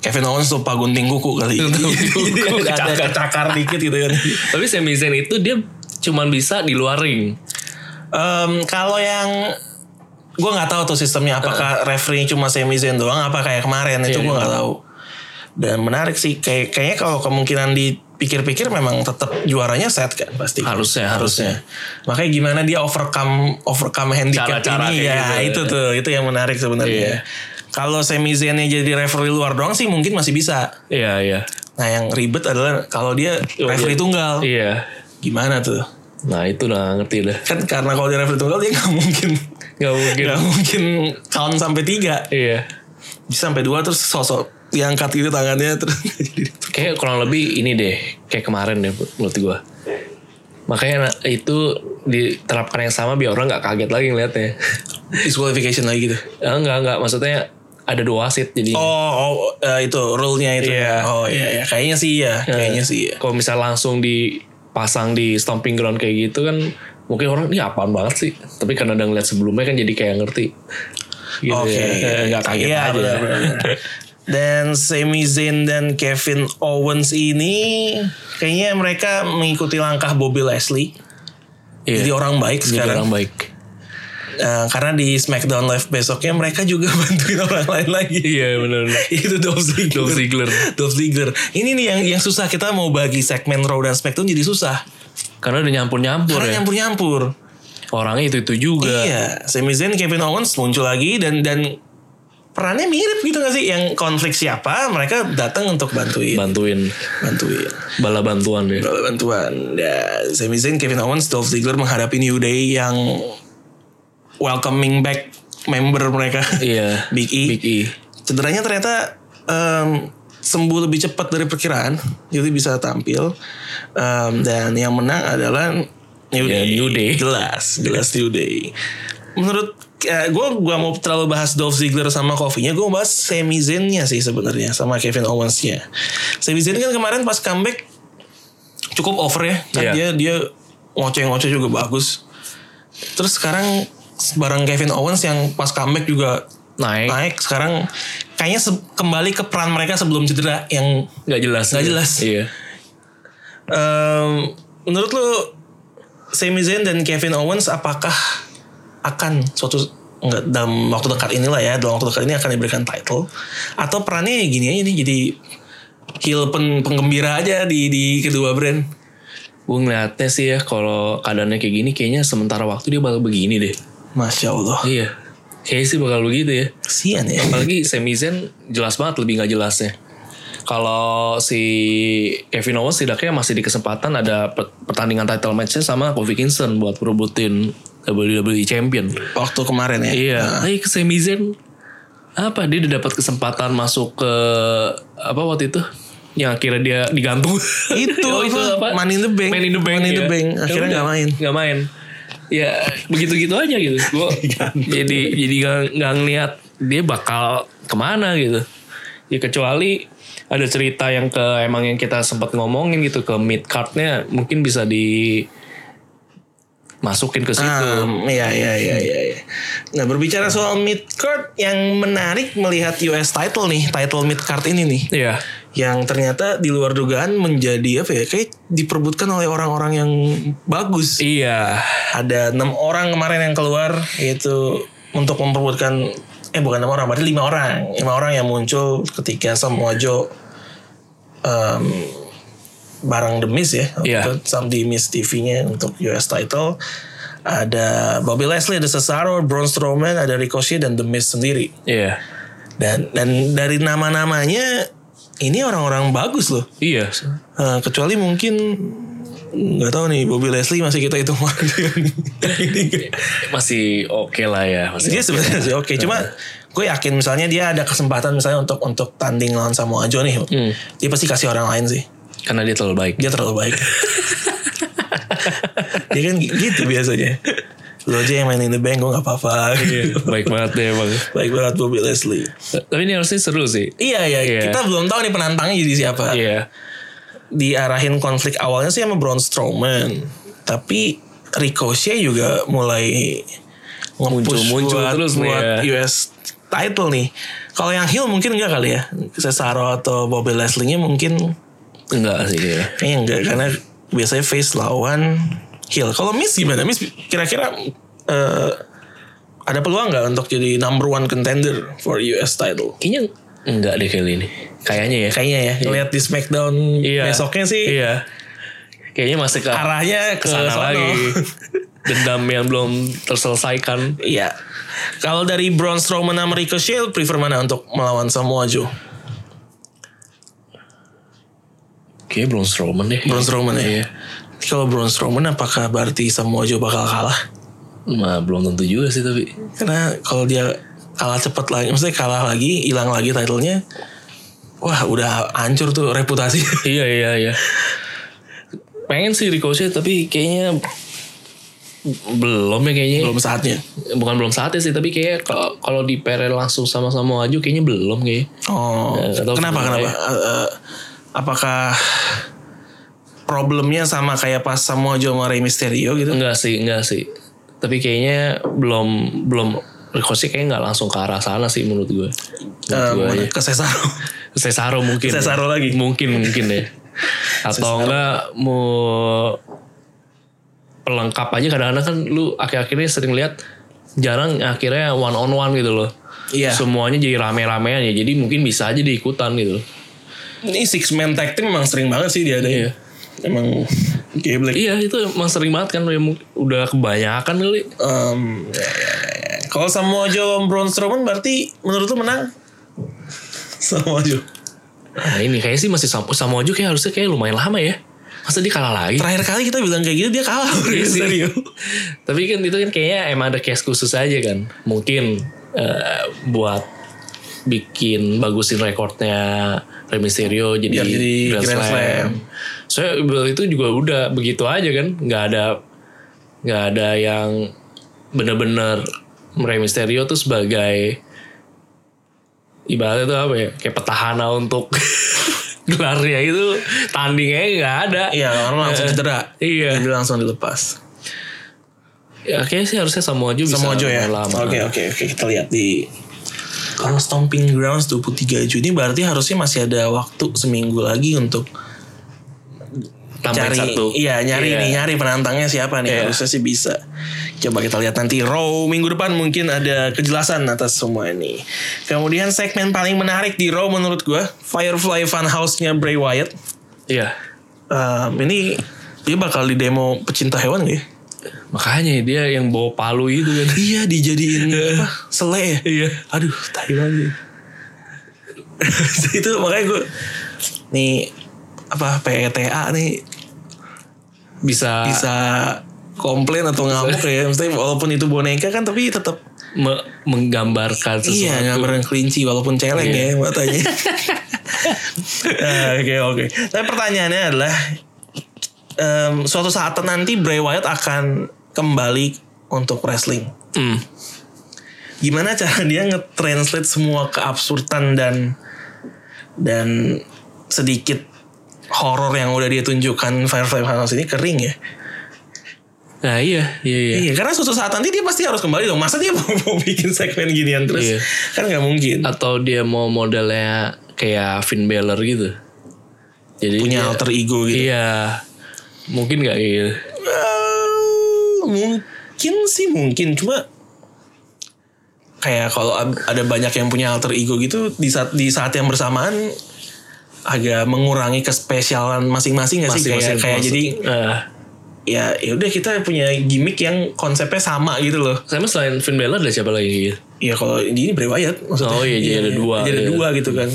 S1: Kevin Owens lupa gunting kuku kali
S2: kuku,
S1: Jadi ada, ada
S2: kecakar.
S1: cakar dikit gitu kan
S2: Tapi Sami Zayn itu dia cuman bisa di luar ring.
S1: Em, kalau yang gue nggak tahu tuh sistemnya apakah referee cuma Sami Zayn doang apa kayak kemarin itu
S2: Iya,
S1: gue
S2: iya.
S1: nggak tahu dan menarik sih kayak kayaknya kalau kemungkinan dipikir-pikir memang tetap juaranya set kan pasti
S2: Harusnya, harusnya.
S1: makanya gimana dia overcome overcome handicap
S2: Cara-cara
S1: ini
S2: kayak
S1: ya
S2: gitu,
S1: itu tuh itu yang menarik sebenarnya
S2: Iya.
S1: kalau Sami Zaynnya jadi referee luar doang sih mungkin masih bisa
S2: Iya, iya.
S1: Nah yang ribet adalah kalau dia referee tunggal.
S2: Oh, Iya.
S1: Gimana tuh?
S2: Nah itu lah ngerti dah.
S1: Kan karena kalau dia referee tunggal dia nggak mungkin
S2: Gak Ya, mungkin.
S1: nggak mungkin count sampai tiga.
S2: Iya.
S1: Bisa sampai dua terus sosok diangkat gitu tangannya terus jadi
S2: Kayak kurang lebih ini deh. Kayak kemarin deh menurut gua. Makanya na- itu diterapkan yang sama biar orang nggak kaget lagi ngeliatnya.
S1: disqualification lagi gitu.
S2: Ah, enggak, enggak. Maksudnya ada dua wasit jadi.
S1: Oh, oh eh, itu rule-nya itu.
S2: Iya.
S1: Oh iya, iya. kayaknya sih ya, kayaknya sih ya.
S2: Kalau misal langsung dipasang di stomping ground kayak gitu kan mungkin orang ini apaan banget sih. Tapi karena udah ngeliat sebelumnya kan jadi kayak ngerti. Gitu
S1: Oke,
S2: ya. Eh, nggak kaget
S1: Iya,
S2: aja.
S1: benar, benar, benar. Dan Sami Zayn dan Kevin Owens ini kayaknya mereka mengikuti langkah Bobby Leslie.
S2: Iya.
S1: Jadi orang baik
S2: Jadi
S1: sekarang.
S2: orang baik.
S1: Eh, karena di Smackdown Live besoknya mereka juga bantuin orang lain lagi.
S2: Iya benar.
S1: Itu Dolph Ziggler.
S2: Dolph Ziggler.
S1: Dolph Ziggler. Ini nih yang yang susah kita mau bagi segmen Raw dan Smackdown jadi susah.
S2: Karena udah nyampur-nyampur ya.
S1: Karena nyampur-nyampur.
S2: Orangnya itu-itu juga.
S1: Iya, Sami Zayn, Kevin Owens muncul lagi dan dan perannya mirip gitu gak sih? Yang konflik siapa, mereka datang untuk bantuin.
S2: Bantuin.
S1: Bantuin.
S2: Bala bantuan deh.
S1: Kalau bantuan, ya Sami Zayn, Kevin Owens, Dolph Ziggler menghadapi New Day yang welcoming back member mereka.
S2: Iya.
S1: Big E.
S2: Big E.
S1: Cederanya ternyata em, sembuh lebih cepat dari perkiraan, jadi bisa tampil. Em, dan yang menang adalah New
S2: Ya,
S1: Day.
S2: New Day.
S1: Jelas, jelas New Day. Menurut gue gua mau terlalu bahas Dolph Ziggler sama Kofinya, gue bahas Sami Zayn-nya sih sebenarnya sama Kevin Owens-nya. Sami Zayn kan kemarin pas comeback cukup over ya, kan
S2: Iya.
S1: dia dia ngoceh-ngoceh juga bagus. Terus sekarang bareng Kevin Owens yang pas comeback juga
S2: Naik.
S1: naik sekarang kayaknya se- kembali ke peran mereka sebelum cedera yang
S2: Gak jelas.
S1: Nggak jelas.
S2: Iya.
S1: em, menurut lu Sami Zayn dan Kevin Owens apakah akan suatu enggak dalam waktu dekat inilah ya dalam waktu dekat ini akan diberikan title atau perannya ya gini aja nih jadi heel pen, penggembira aja di di kedua brand
S2: Gue ngeliatnya sih ya kalau keadaannya kayak gini kayaknya sementara waktu dia bakal begini deh.
S1: masya allah
S2: Iya. Kayaknya sih bakal begitu ya.
S1: kesian ya
S2: Apalagi Sami Zayn jelas banget lebih nggak jelasnya. Kalau si Kevin Owens tidaknya masih di kesempatan ada pe- pertandingan title matchnya sama Kofi Kingston buat perebutin WWE E Champion.
S1: Waktu kemarin ya.
S2: Iya. Tapi ke Sami Zayn apa dia udah dapat kesempatan masuk ke apa waktu itu? Yang akhirnya dia digantung. Ya,
S1: Itu, apa? Man in the Bank.
S2: Man in the Bank.
S1: Man in the
S2: iya.
S1: Bank.
S2: Ya
S1: Akhirnya
S2: udah,
S1: nggak main.
S2: Nggak main. Ya begitu-gitu aja gitu. Gue jadi jadi nggak nggak ngeliat dia bakal kemana gitu. Ya kecuali ada cerita yang ke emang yang kita sempat ngomongin gitu ke mid cardnya mungkin bisa di masukin ke situ.
S1: Um, iya, iya, iya, iya, iya. Nah berbicara soal mid card yang menarik melihat US title nih, title mid card ini nih,
S2: Iya.
S1: yang ternyata di luar dugaan menjadi apa ya? Kayak diperbutkan oleh orang-orang yang bagus.
S2: Iya.
S1: Ada enam orang kemarin yang keluar yaitu untuk memperbutkan eh bukan enam orang, berarti lima orang, lima orang yang muncul ketika Samoa Joe um, barang demis ya,
S2: Iya.
S1: untuk Sam Demis TV-nya untuk US title. Ada Bobby Leslie, ada Cesaro, Braun Strowman, ada Ricochet dan The Miz sendiri.
S2: Iya.
S1: Dan dan dari nama-namanya ini orang-orang bagus loh.
S2: Iya.
S1: Eh, kecuali mungkin nggak tahu nih Bobby Leslie masih kita hitung
S2: Masih oke lah ya. Masih
S1: dia Iya, sebenarnya sih oke cuma gue yakin misalnya dia ada kesempatan misalnya untuk untuk tanding lawan Samoa Joe nih dia pasti kasih orang lain sih
S2: Karena dia terlalu baik.
S1: dia terlalu baik dia kan gi- gitu biasanya lo aja yang main in the bank gue nggak apa-apa
S2: Iya, baik banget deh bang.
S1: baik banget Bobby Leslie
S2: Tapi ini harusnya seru sih.
S1: iya iya
S2: Iya.
S1: kita belum tahu nih penantangnya jadi siapa
S2: Iya.
S1: diarahin konflik awalnya sih sama Braun Strowman. Tapi Ricochet juga mulai nge-push
S2: Muncul-muncul
S1: buat,
S2: terus nih
S1: buat
S2: ya.
S1: US title nih. Kalau yang heel mungkin enggak kali ya. Cesaro atau Bobby Leslie-nya mungkin
S2: Enggak sih iya. dia.
S1: kayaknya enggak karena biasanya face lawan heel. Kalau Miss gimana? Miss kira-kira eh, ada peluang nggak untuk jadi number one contender for US title?
S2: Kayaknya enggak deh kali ini. Kayaknya ya.
S1: Kayaknya ya. Lihat di SmackDown
S2: Iya.
S1: besoknya sih
S2: Iya. Kayaknya masih ke
S1: arahnya ke
S2: sana
S1: sono.
S2: lagi. Dendam yang belum terselesaikan.
S1: Iya. Kalau dari Braun Strowman sama Ricochet, lu prefer mana untuk melawan Samoa Joe?
S2: Kayaknya belum Strowman deh.
S1: Braun Strowman ya.
S2: Iya.
S1: Kalau Braun Strowman, apakah berarti Samoa Joe bakal kalah?
S2: Nah, belum tentu juga sih tapi.
S1: Karena kalau dia kalah cepet lagi, maksudnya kalah lagi, hilang lagi titlenya, wah udah hancur tuh reputasi.
S2: iya iya iya. Pengen sih Ricochet tapi kayaknya belum ya kayaknya.
S1: Belum saatnya.
S2: bukan belum saatnya sih tapi kayak kalau kalau di PRL langsung sama-sama maju kayaknya belum kayak
S1: Oh,
S2: Ya, nggak tahu
S1: kenapa
S2: kenapa
S1: kenapa?
S2: ya.
S1: Eh, eh, apakah problemnya sama kayak pas Samoa Joe sama Rey Mysterio gitu?
S2: enggak sih enggak sih tapi kayaknya belum belum Ricochet kayaknya nggak langsung ke arah sana sih menurut gue
S1: Eh,
S2: menurut
S1: mana?
S2: gue
S1: ke Cesaro.
S2: Cesaro mungkin
S1: Cesaro lagi.
S2: mungkin mungkin ya atau enggak mau pelengkap aja kadang-kadang kan lu akhir-akhirnya sering lihat jarang akhirnya one on one gitu loh
S1: Iya.
S2: semuanya jadi rame-ramean ya jadi mungkin bisa aja diikutan gitu loh.
S1: Ini six man tag team memang sering banget sih dia ada.
S2: Iya.
S1: Emang geblek.
S2: Iya itu emang sering banget kan ya, mungkin udah kebanyakan kali.
S1: Um, ya, ya, ya. kalau Samoa Joe sama Braun Strowman berarti menurut lu menang? Samoa Joe.
S2: Nah ini kayaknya sih masih sama sama aja kayak harusnya kayak lumayan lama ya. Masa dia kalah lagi?
S1: Terakhir kali kita bilang kayak gitu dia kalah.
S2: Iya sih.
S1: Mysterio.
S2: Tapi kan itu kan kayaknya emang ada case khusus aja kan. Mungkin eh, buat bikin bagusin rekornya Rey Mysterio jadi,
S1: Biar jadi
S2: Grand,
S1: Grand
S2: Slam.
S1: Slam.
S2: Soalnya itu juga udah begitu aja kan. Nggak ada nggak ada yang bener-bener Rey Mysterio tuh sebagai ibaratnya tuh apa ya kayak petahana untuk gelarnya itu tandingnya nggak ada
S1: Iya, orang langsung cedera.
S2: iya
S1: Jadi langsung dilepas.
S2: ya, kayaknya sih harusnya Samoa Joe bisa
S1: Samoa Joe ya.
S2: lama
S1: Oke, oke, oke. Kita lihat di kalau Stomping Grounds 23 Juni berarti harusnya masih ada waktu seminggu lagi untuk
S2: tambahin
S1: cari
S2: satu
S1: iya nyari
S2: Iya.
S1: nih nyari penantangnya siapa nih
S2: Iya.
S1: harusnya sih bisa coba kita lihat nanti Raw minggu depan mungkin ada kejelasan atas semua ini kemudian segmen paling menarik di Raw menurut gua Firefly Funhouse-nya Bray Wyatt
S2: iya
S1: Um, ini dia bakal di demo pecinta hewan gak ya?
S2: makanya dia yang bawa palu itu kan
S1: iya dijadiin apa sele ya
S2: iya
S1: aduh tai banget itu makanya gue nih apa PETA nih
S2: bisa,
S1: bisa komplain atau ngamuk ya maksudnya walaupun itu boneka kan tapi tetap
S2: me- menggambarkan sesuatu.
S1: iya gambaran kelinci walaupun celeng ya matanya Nah, oke oke tapi pertanyaannya adalah em, suatu saat nanti Bray Wyatt akan kembali untuk wrestling
S2: Hmm.
S1: gimana cara dia nge-translate semua keabsurdan dan dan sedikit horor yang udah dia tunjukkan Firefly Funhouse ini kering ya.
S2: Nah iya, iya, iya.
S1: Iya, karena suatu saat nanti dia pasti harus kembali dong. Masa dia mau, mau bikin segmen ginian terus?
S2: Iya.
S1: Kan nggak mungkin.
S2: Atau dia mau modelnya kayak Finn Balor gitu. Jadi
S1: Punya
S2: dia-
S1: alter ego gitu.
S2: Iya. Mungkin gak gitu.
S1: Eh, mungkin sih mungkin, cuma kayak kalau ab- ada banyak yang punya alter ego gitu di saat di saat yang bersamaan agak mengurangi kespesialan masing-masing gak sih kayak
S2: Masing-masing
S1: kayak
S2: maksud-
S1: jadi
S2: Eh,
S1: ya ya udah kita punya gimmick yang konsepnya sama gitu loh
S2: sama selain Finn Balor ada siapa lagi gitu?
S1: ya kalau di ini Bray Wyatt maksudnya
S2: Oh, iya, jadi ada dua,
S1: jadi ada
S2: iya.
S1: dua gitu kan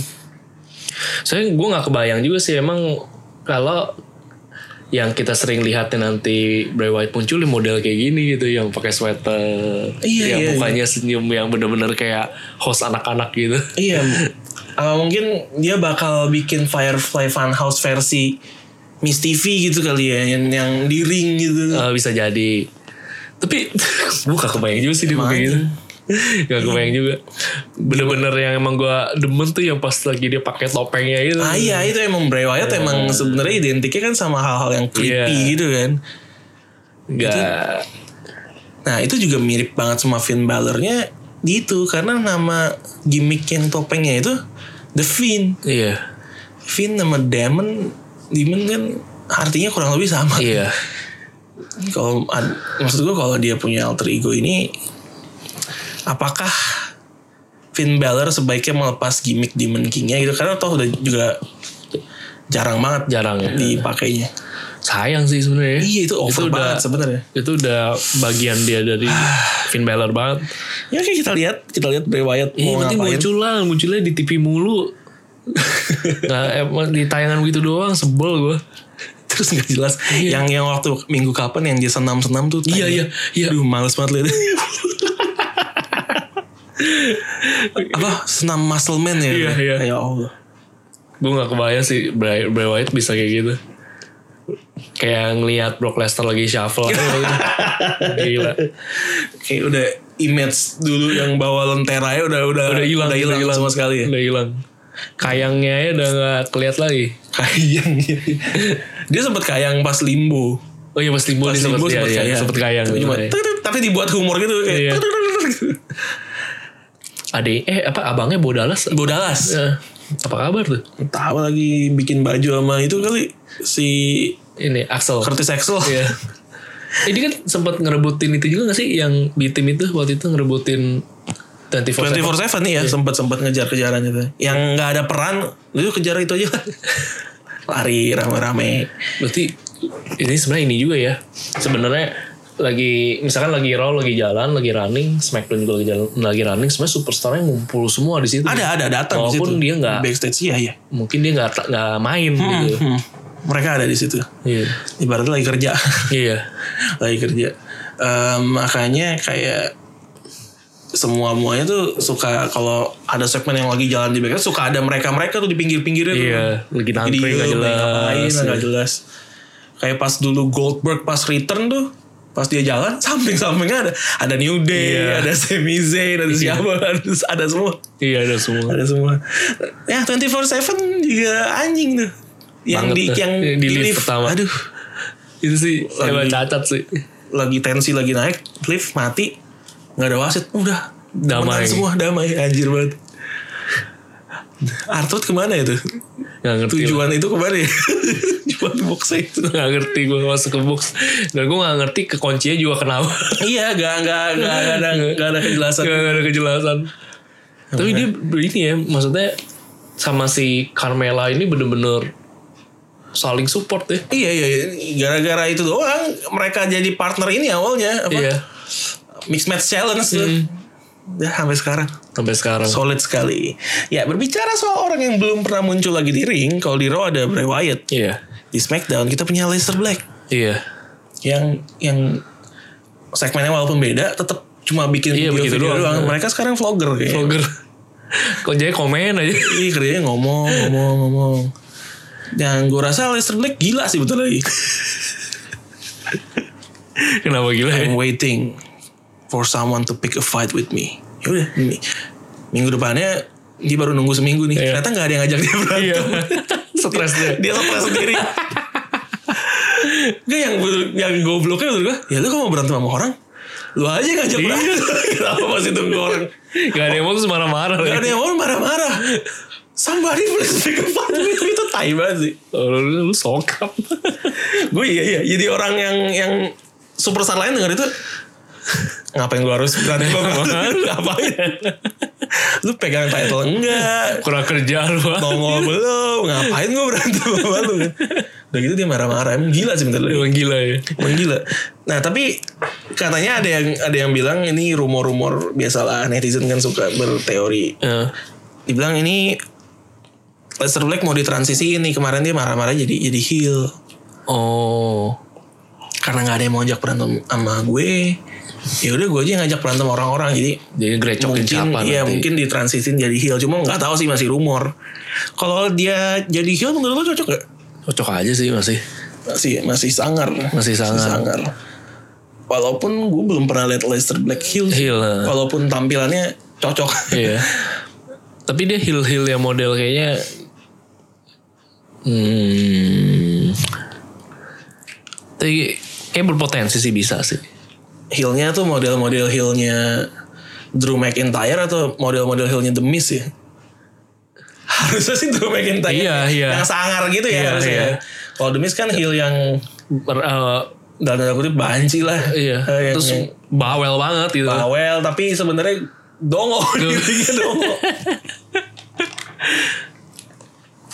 S2: Soalnya gue nggak kebayang juga sih emang kalau yang kita sering lihatnya nanti Bray Wyatt muncul di model kayak gini gitu yang pakai sweater
S1: Iya,
S2: yang
S1: iya,
S2: mukanya senyum yang bener-bener kayak host anak-anak gitu
S1: iya Ah, mungkin dia bakal bikin Firefly Funhouse versi Miss TV gitu kali ya yang, yang di ring gitu
S2: Eh, bisa jadi tapi gue gak kebayang juga sih dia pakai gitu gak kebayang juga bener-bener yang emang gue demen tuh yang pas lagi dia pakai topengnya gitu
S1: ah iya itu emang Bray Wyatt emang sebenarnya identiknya kan sama hal-hal yang creepy
S2: Oh. Iya.
S1: gitu kan
S2: gak
S1: nah itu juga mirip banget sama Finn Balor-nya di itu karena nama gimmick yang topengnya itu The Fiend
S2: iya
S1: Finn sama Damon Demon kan artinya kurang lebih sama
S2: iya
S1: kalau ad- maksud gue kalau dia punya alter ego ini apakah Finn Balor sebaiknya melepas gimmick Demon King-nya gitu karena toh udah juga jarang banget
S2: jarang ya
S1: dipakainya
S2: sayang sih sebenarnya
S1: iya itu over banget sebenarnya
S2: itu udah bagian dia dari Finn Balor banget.
S1: ya oke kita lihat kita lihat Bray Wyatt
S2: Ini
S1: mau
S2: Iya, penting
S1: ngapain
S2: muncul lah, munculnya di TV mulu. nah, emang di tayangan gitu doang sebel gue.
S1: terus nggak jelas yang yang waktu minggu kapan yang dia senam senam tuh
S2: Iya, iya, iya.
S1: Duh, males banget liat. Apa senam muscle man ya?
S2: Iya, iya.
S1: Ya Allah.
S2: Gue gak kebayang sih Bray, Bray Wyatt bisa kayak gitu. Kayak ngelihat Brock Lesnar lagi shuffle. Gila.
S1: Kayak udah image dulu yang bawa lentera ya udah udah
S2: Udah hilang,
S1: udah hilang sama sekali ya.
S2: Udah hilang. Kayangnya ya udah gak keliat lagi.
S1: Kayang. iya. Dia sempat kayang pas limbo.
S2: Oh iya pasti limbo
S1: Pas
S2: nih sempet,
S1: limbo
S2: ya,
S1: sempat
S2: ya,
S1: kayang.
S2: sempet kayang.
S1: Tapi, cuma,
S2: Iya.
S1: "Tut-tut," tapi dibuat humor gitu kayak.
S2: Iya.
S1: "Tut-tut-tut-tut."
S2: Ade, eh apa abangnya Bodalas?
S1: Iya. Bodalas.
S2: Eh, apa kabar tuh?
S1: Tahu lagi bikin baju sama itu kali si
S2: Ini Axel.
S1: Curtis Axel.
S2: Iya. Ini kan sempat ngerebutin itu juga gak sih yang B team itu waktu itu ngerebutin 24
S1: 24 7 nih ya
S2: Iya.
S1: sempat sempat ngejar kejaran itu. Yang nggak ada peran, lu kejar itu aja. Lari
S2: Iya.
S1: rame-rame.
S2: Berarti ini sebenarnya ini juga ya. Sebenarnya lagi misalkan lagi raw lagi jalan lagi running smackdown juga lagi jalan lagi running sebenarnya superstarnya ngumpul semua di situ
S1: Ada ada datang di situ.
S2: Walaupun dia nggak-
S1: backstage iya ya.
S2: mungkin dia nggak nggak main gitu
S1: Mereka ada di situ.
S2: iya
S1: Ibaratnya lagi kerja,
S2: iya
S1: lagi kerja. Em, makanya kayak semua muanya tuh suka kalau ada segmen yang lagi jalan di backstage suka ada mereka mereka tuh di pinggir pinggirnya
S2: iya lagi
S1: Jadi
S2: nangkring nggak jelas Iya.
S1: ngapain nggak jelas. Kayak pas dulu Goldberg pas return tuh pas dia jalan samping sampingnya ada ada New Day,
S2: Iya.
S1: ada Sami Zayn, ada siapa, ada, ada semua,
S2: iya ada semua
S1: ada semua. Ya 24/7 juga anjing tuh. Yang
S2: Banget
S1: di
S2: tuh.
S1: yang
S2: Di lift pertama.
S1: Aduh,
S2: itu sih emang cacat sih
S1: lagi tensi lagi naik, lift mati, nggak ada wasit, udah
S2: Damai.
S1: temenan semua damai anjir banget. Artut kemana itu?
S2: nggak ngerti lah.
S1: Tujuan itu kemana ya? Tujuan boxnya itu.
S2: nggak ngerti gue masuk ke box dan gue nggak ngerti ke kuncinya juga kenapa
S1: Iya, gak, gak, gak, gak ada, gak ada kejelasan.
S2: nggak nggak ada kejelasan tapi dia ini ya maksudnya sama si Carmela ini bener-bener saling support ya
S1: Iya, iya, iya. gara-gara itu doang mereka jadi partner ini awalnya apa?
S2: iya
S1: Mixed match challenge tuh. Ya, sampai sekarang
S2: sampai sekarang.
S1: solid sekali. Ya berbicara soal orang yang belum pernah muncul lagi di ring, kalau di Raw ada Bray Wyatt,
S2: Iya.
S1: di SmackDown kita punya Leicester Black
S2: Iya.
S1: yang yang segmennya walaupun beda tetap cuma bikin
S2: Iya, begitu
S1: video-video
S2: doang.
S1: doang. Mereka sekarang vlogger kayaknya.
S2: Vlogger. Kok jadi komen aja.
S1: Iya kerjanya ngomong, ngomong, ngomong. Dan gue rasa Leicester Black gila sih betul lagi.
S2: Kenapa gila ya?
S1: I'm waiting for someone to pick a fight with me. Yaudah, mi- minggu depannya dia baru nunggu seminggu nih.
S2: Iya.
S1: Ternyata nggak ada yang ngajak dia berantem.
S2: Iya. Stres dia.
S1: dia stres sendiri. Gak yang yang gobloknya menurut gue, ya lu kok mau berantem sama orang? Lu aja yang
S2: Iya.
S1: ngajak berantem. Kenapa masih tunggu orang?
S2: Gak ada yang mau terus marah-marah.
S1: Gak ada yang mau marah-marah. Somebody please pick a fight with me. Itu tai banget sih.
S2: Lu, lu, Oh, lu sokap.
S1: gue iya iya jadi orang yang yang super star lain denger itu ngapain gue harus berantem sama lu? ngapain lu pegang title enggak
S2: Kurang kerja lu. ah.
S1: nongol belum ngapain gue berantem sama lu kan. udah gitu dia marah-marah emang gila sih bentar lagi
S2: Emang gila ya.
S1: emang gila nah tapi katanya ada yang ada yang bilang ini rumor-rumor biasalah netizen kan suka berteori
S2: Heeh.
S1: dibilang ini Lester Black mau ditransisi ini kemarin dia marah-marah jadi jadi heel
S2: Oh.
S1: karena nggak ada yang mau ngajak berantem sama gue ya udah gue aja yang ngajak berantem orang-orang jadi
S2: Jadi grecokin
S1: mungkin
S2: siapa
S1: ya
S2: nanti.
S1: mungkin ditransisin jadi heel cuma nggak tahu sih masih rumor kalau dia jadi heel menurut lo cocok gak?
S2: Cocok aja sih masih.
S1: masih masih sangar
S2: Masih sangar.
S1: walaupun gue belum pernah lihat Leicester Black heel sih.
S2: Heel, eh.
S1: walaupun tampilannya cocok
S2: Iya. Tapi dia heel-heel yang model kayaknya hmm. Tapi kayak berpotensi sih bisa sih.
S1: heelnya tuh model-model heelnya Drew McIntyre atau model-model heelnya The Miz ya harusnya sih Drew McIntyre
S2: Iya, iya.
S1: yang sangar gitu ya
S2: Iya,
S1: harusnya
S2: iya.
S1: kalau The Miz kan heel yang
S2: Ber- eh,
S1: dalam tanda kutip banci lah
S2: iya.
S1: Eh, yang,
S2: Terus
S1: yang
S2: bawel banget gitu.
S1: bawel tapi sebenarnya dongo dirinya dongo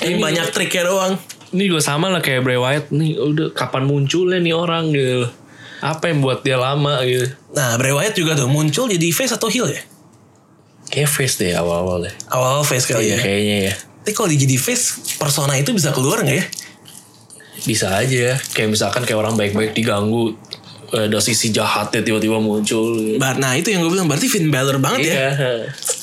S1: ini banyak triknya doang
S2: Ini juga sama lah kayak Bray Wyatt nih. Udah kapan munculnya nih orang gitu. Apa yang buat dia lama gitu.
S1: nah Bray Wyatt juga tuh muncul jadi face atau heel ya
S2: Kayak face deh awal-awal deh.
S1: awal face kali ya
S2: Iya kayaknya ya.
S1: tapi kalau dia jadi face persona itu bisa keluar nggak ya
S2: Bisa aja. ya. Kayak misalkan kayak orang baik-baik diganggu. eh, Ada sisi jahatnya tiba-tiba muncul. gitu.
S1: Ba- nah itu yang gue bilang berarti Finn Balor banget ya
S2: Iya.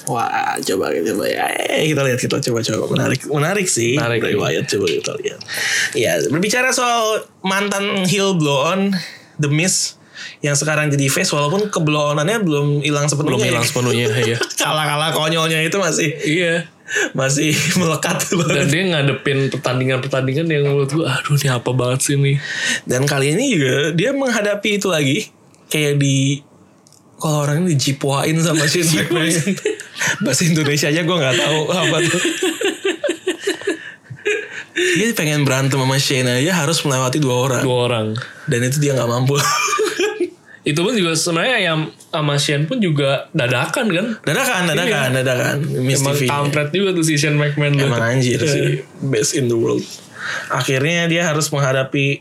S1: Wah, coba coba ya. Eh, kita lihat kita coba coba menarik menarik sih.
S2: Menarik. iya.
S1: Bray Wyatt coba kita lihat. Ya, berbicara soal mantan heel blow on The Miz yang sekarang jadi face walaupun keblowonannya belum hilang sepenuhnya.
S2: belum hilang
S1: ya.
S2: sepenuhnya ya
S1: Kalah-kalah konyolnya itu masih
S2: iya
S1: masih melekat
S2: dan
S1: banget.
S2: dia ngadepin pertandingan pertandingan yang menurut gue aduh ini apa banget sih nih
S1: Dan kali ini juga dia menghadapi itu lagi kayak di kalau orang ini dijipoain sama Shane McMahon. Bahasa Indonesia aja gue nggak tahu apa tuh. Dia pengen berantem sama Shane aja harus melewati dua orang
S2: dua orang
S1: dan itu dia nggak mampu.
S2: itu pun juga sebenarnya yang sama Shane pun juga dadakan kan
S1: dadakan, dadakan, dadakan. Miss
S2: Iya. emang
S1: TV.
S2: kampret juga tuh si Shane McMahon tuh.
S1: Emang anjir
S2: Iya.
S1: sih, best in the world. Akhirnya dia harus menghadapi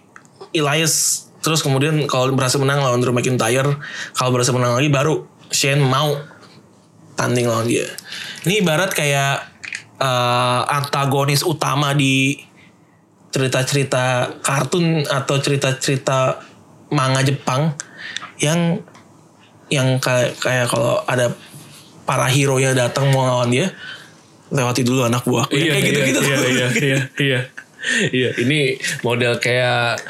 S1: Elias. Terus kemudian kalau berhasil menang lawan Drew McIntyre, kalau berhasil menang lagi baru Shane mau tanding lawan dia. Ini ibarat kayak eh, antagonis utama di cerita-cerita kartun atau cerita-cerita manga Jepang yang yang kayak kayak kalau ada para hero yang datang mau lawan dia lewati dulu anak buah
S2: iya
S1: kayak gitu gitu
S2: iya iya iya iya Iya, ini model kayak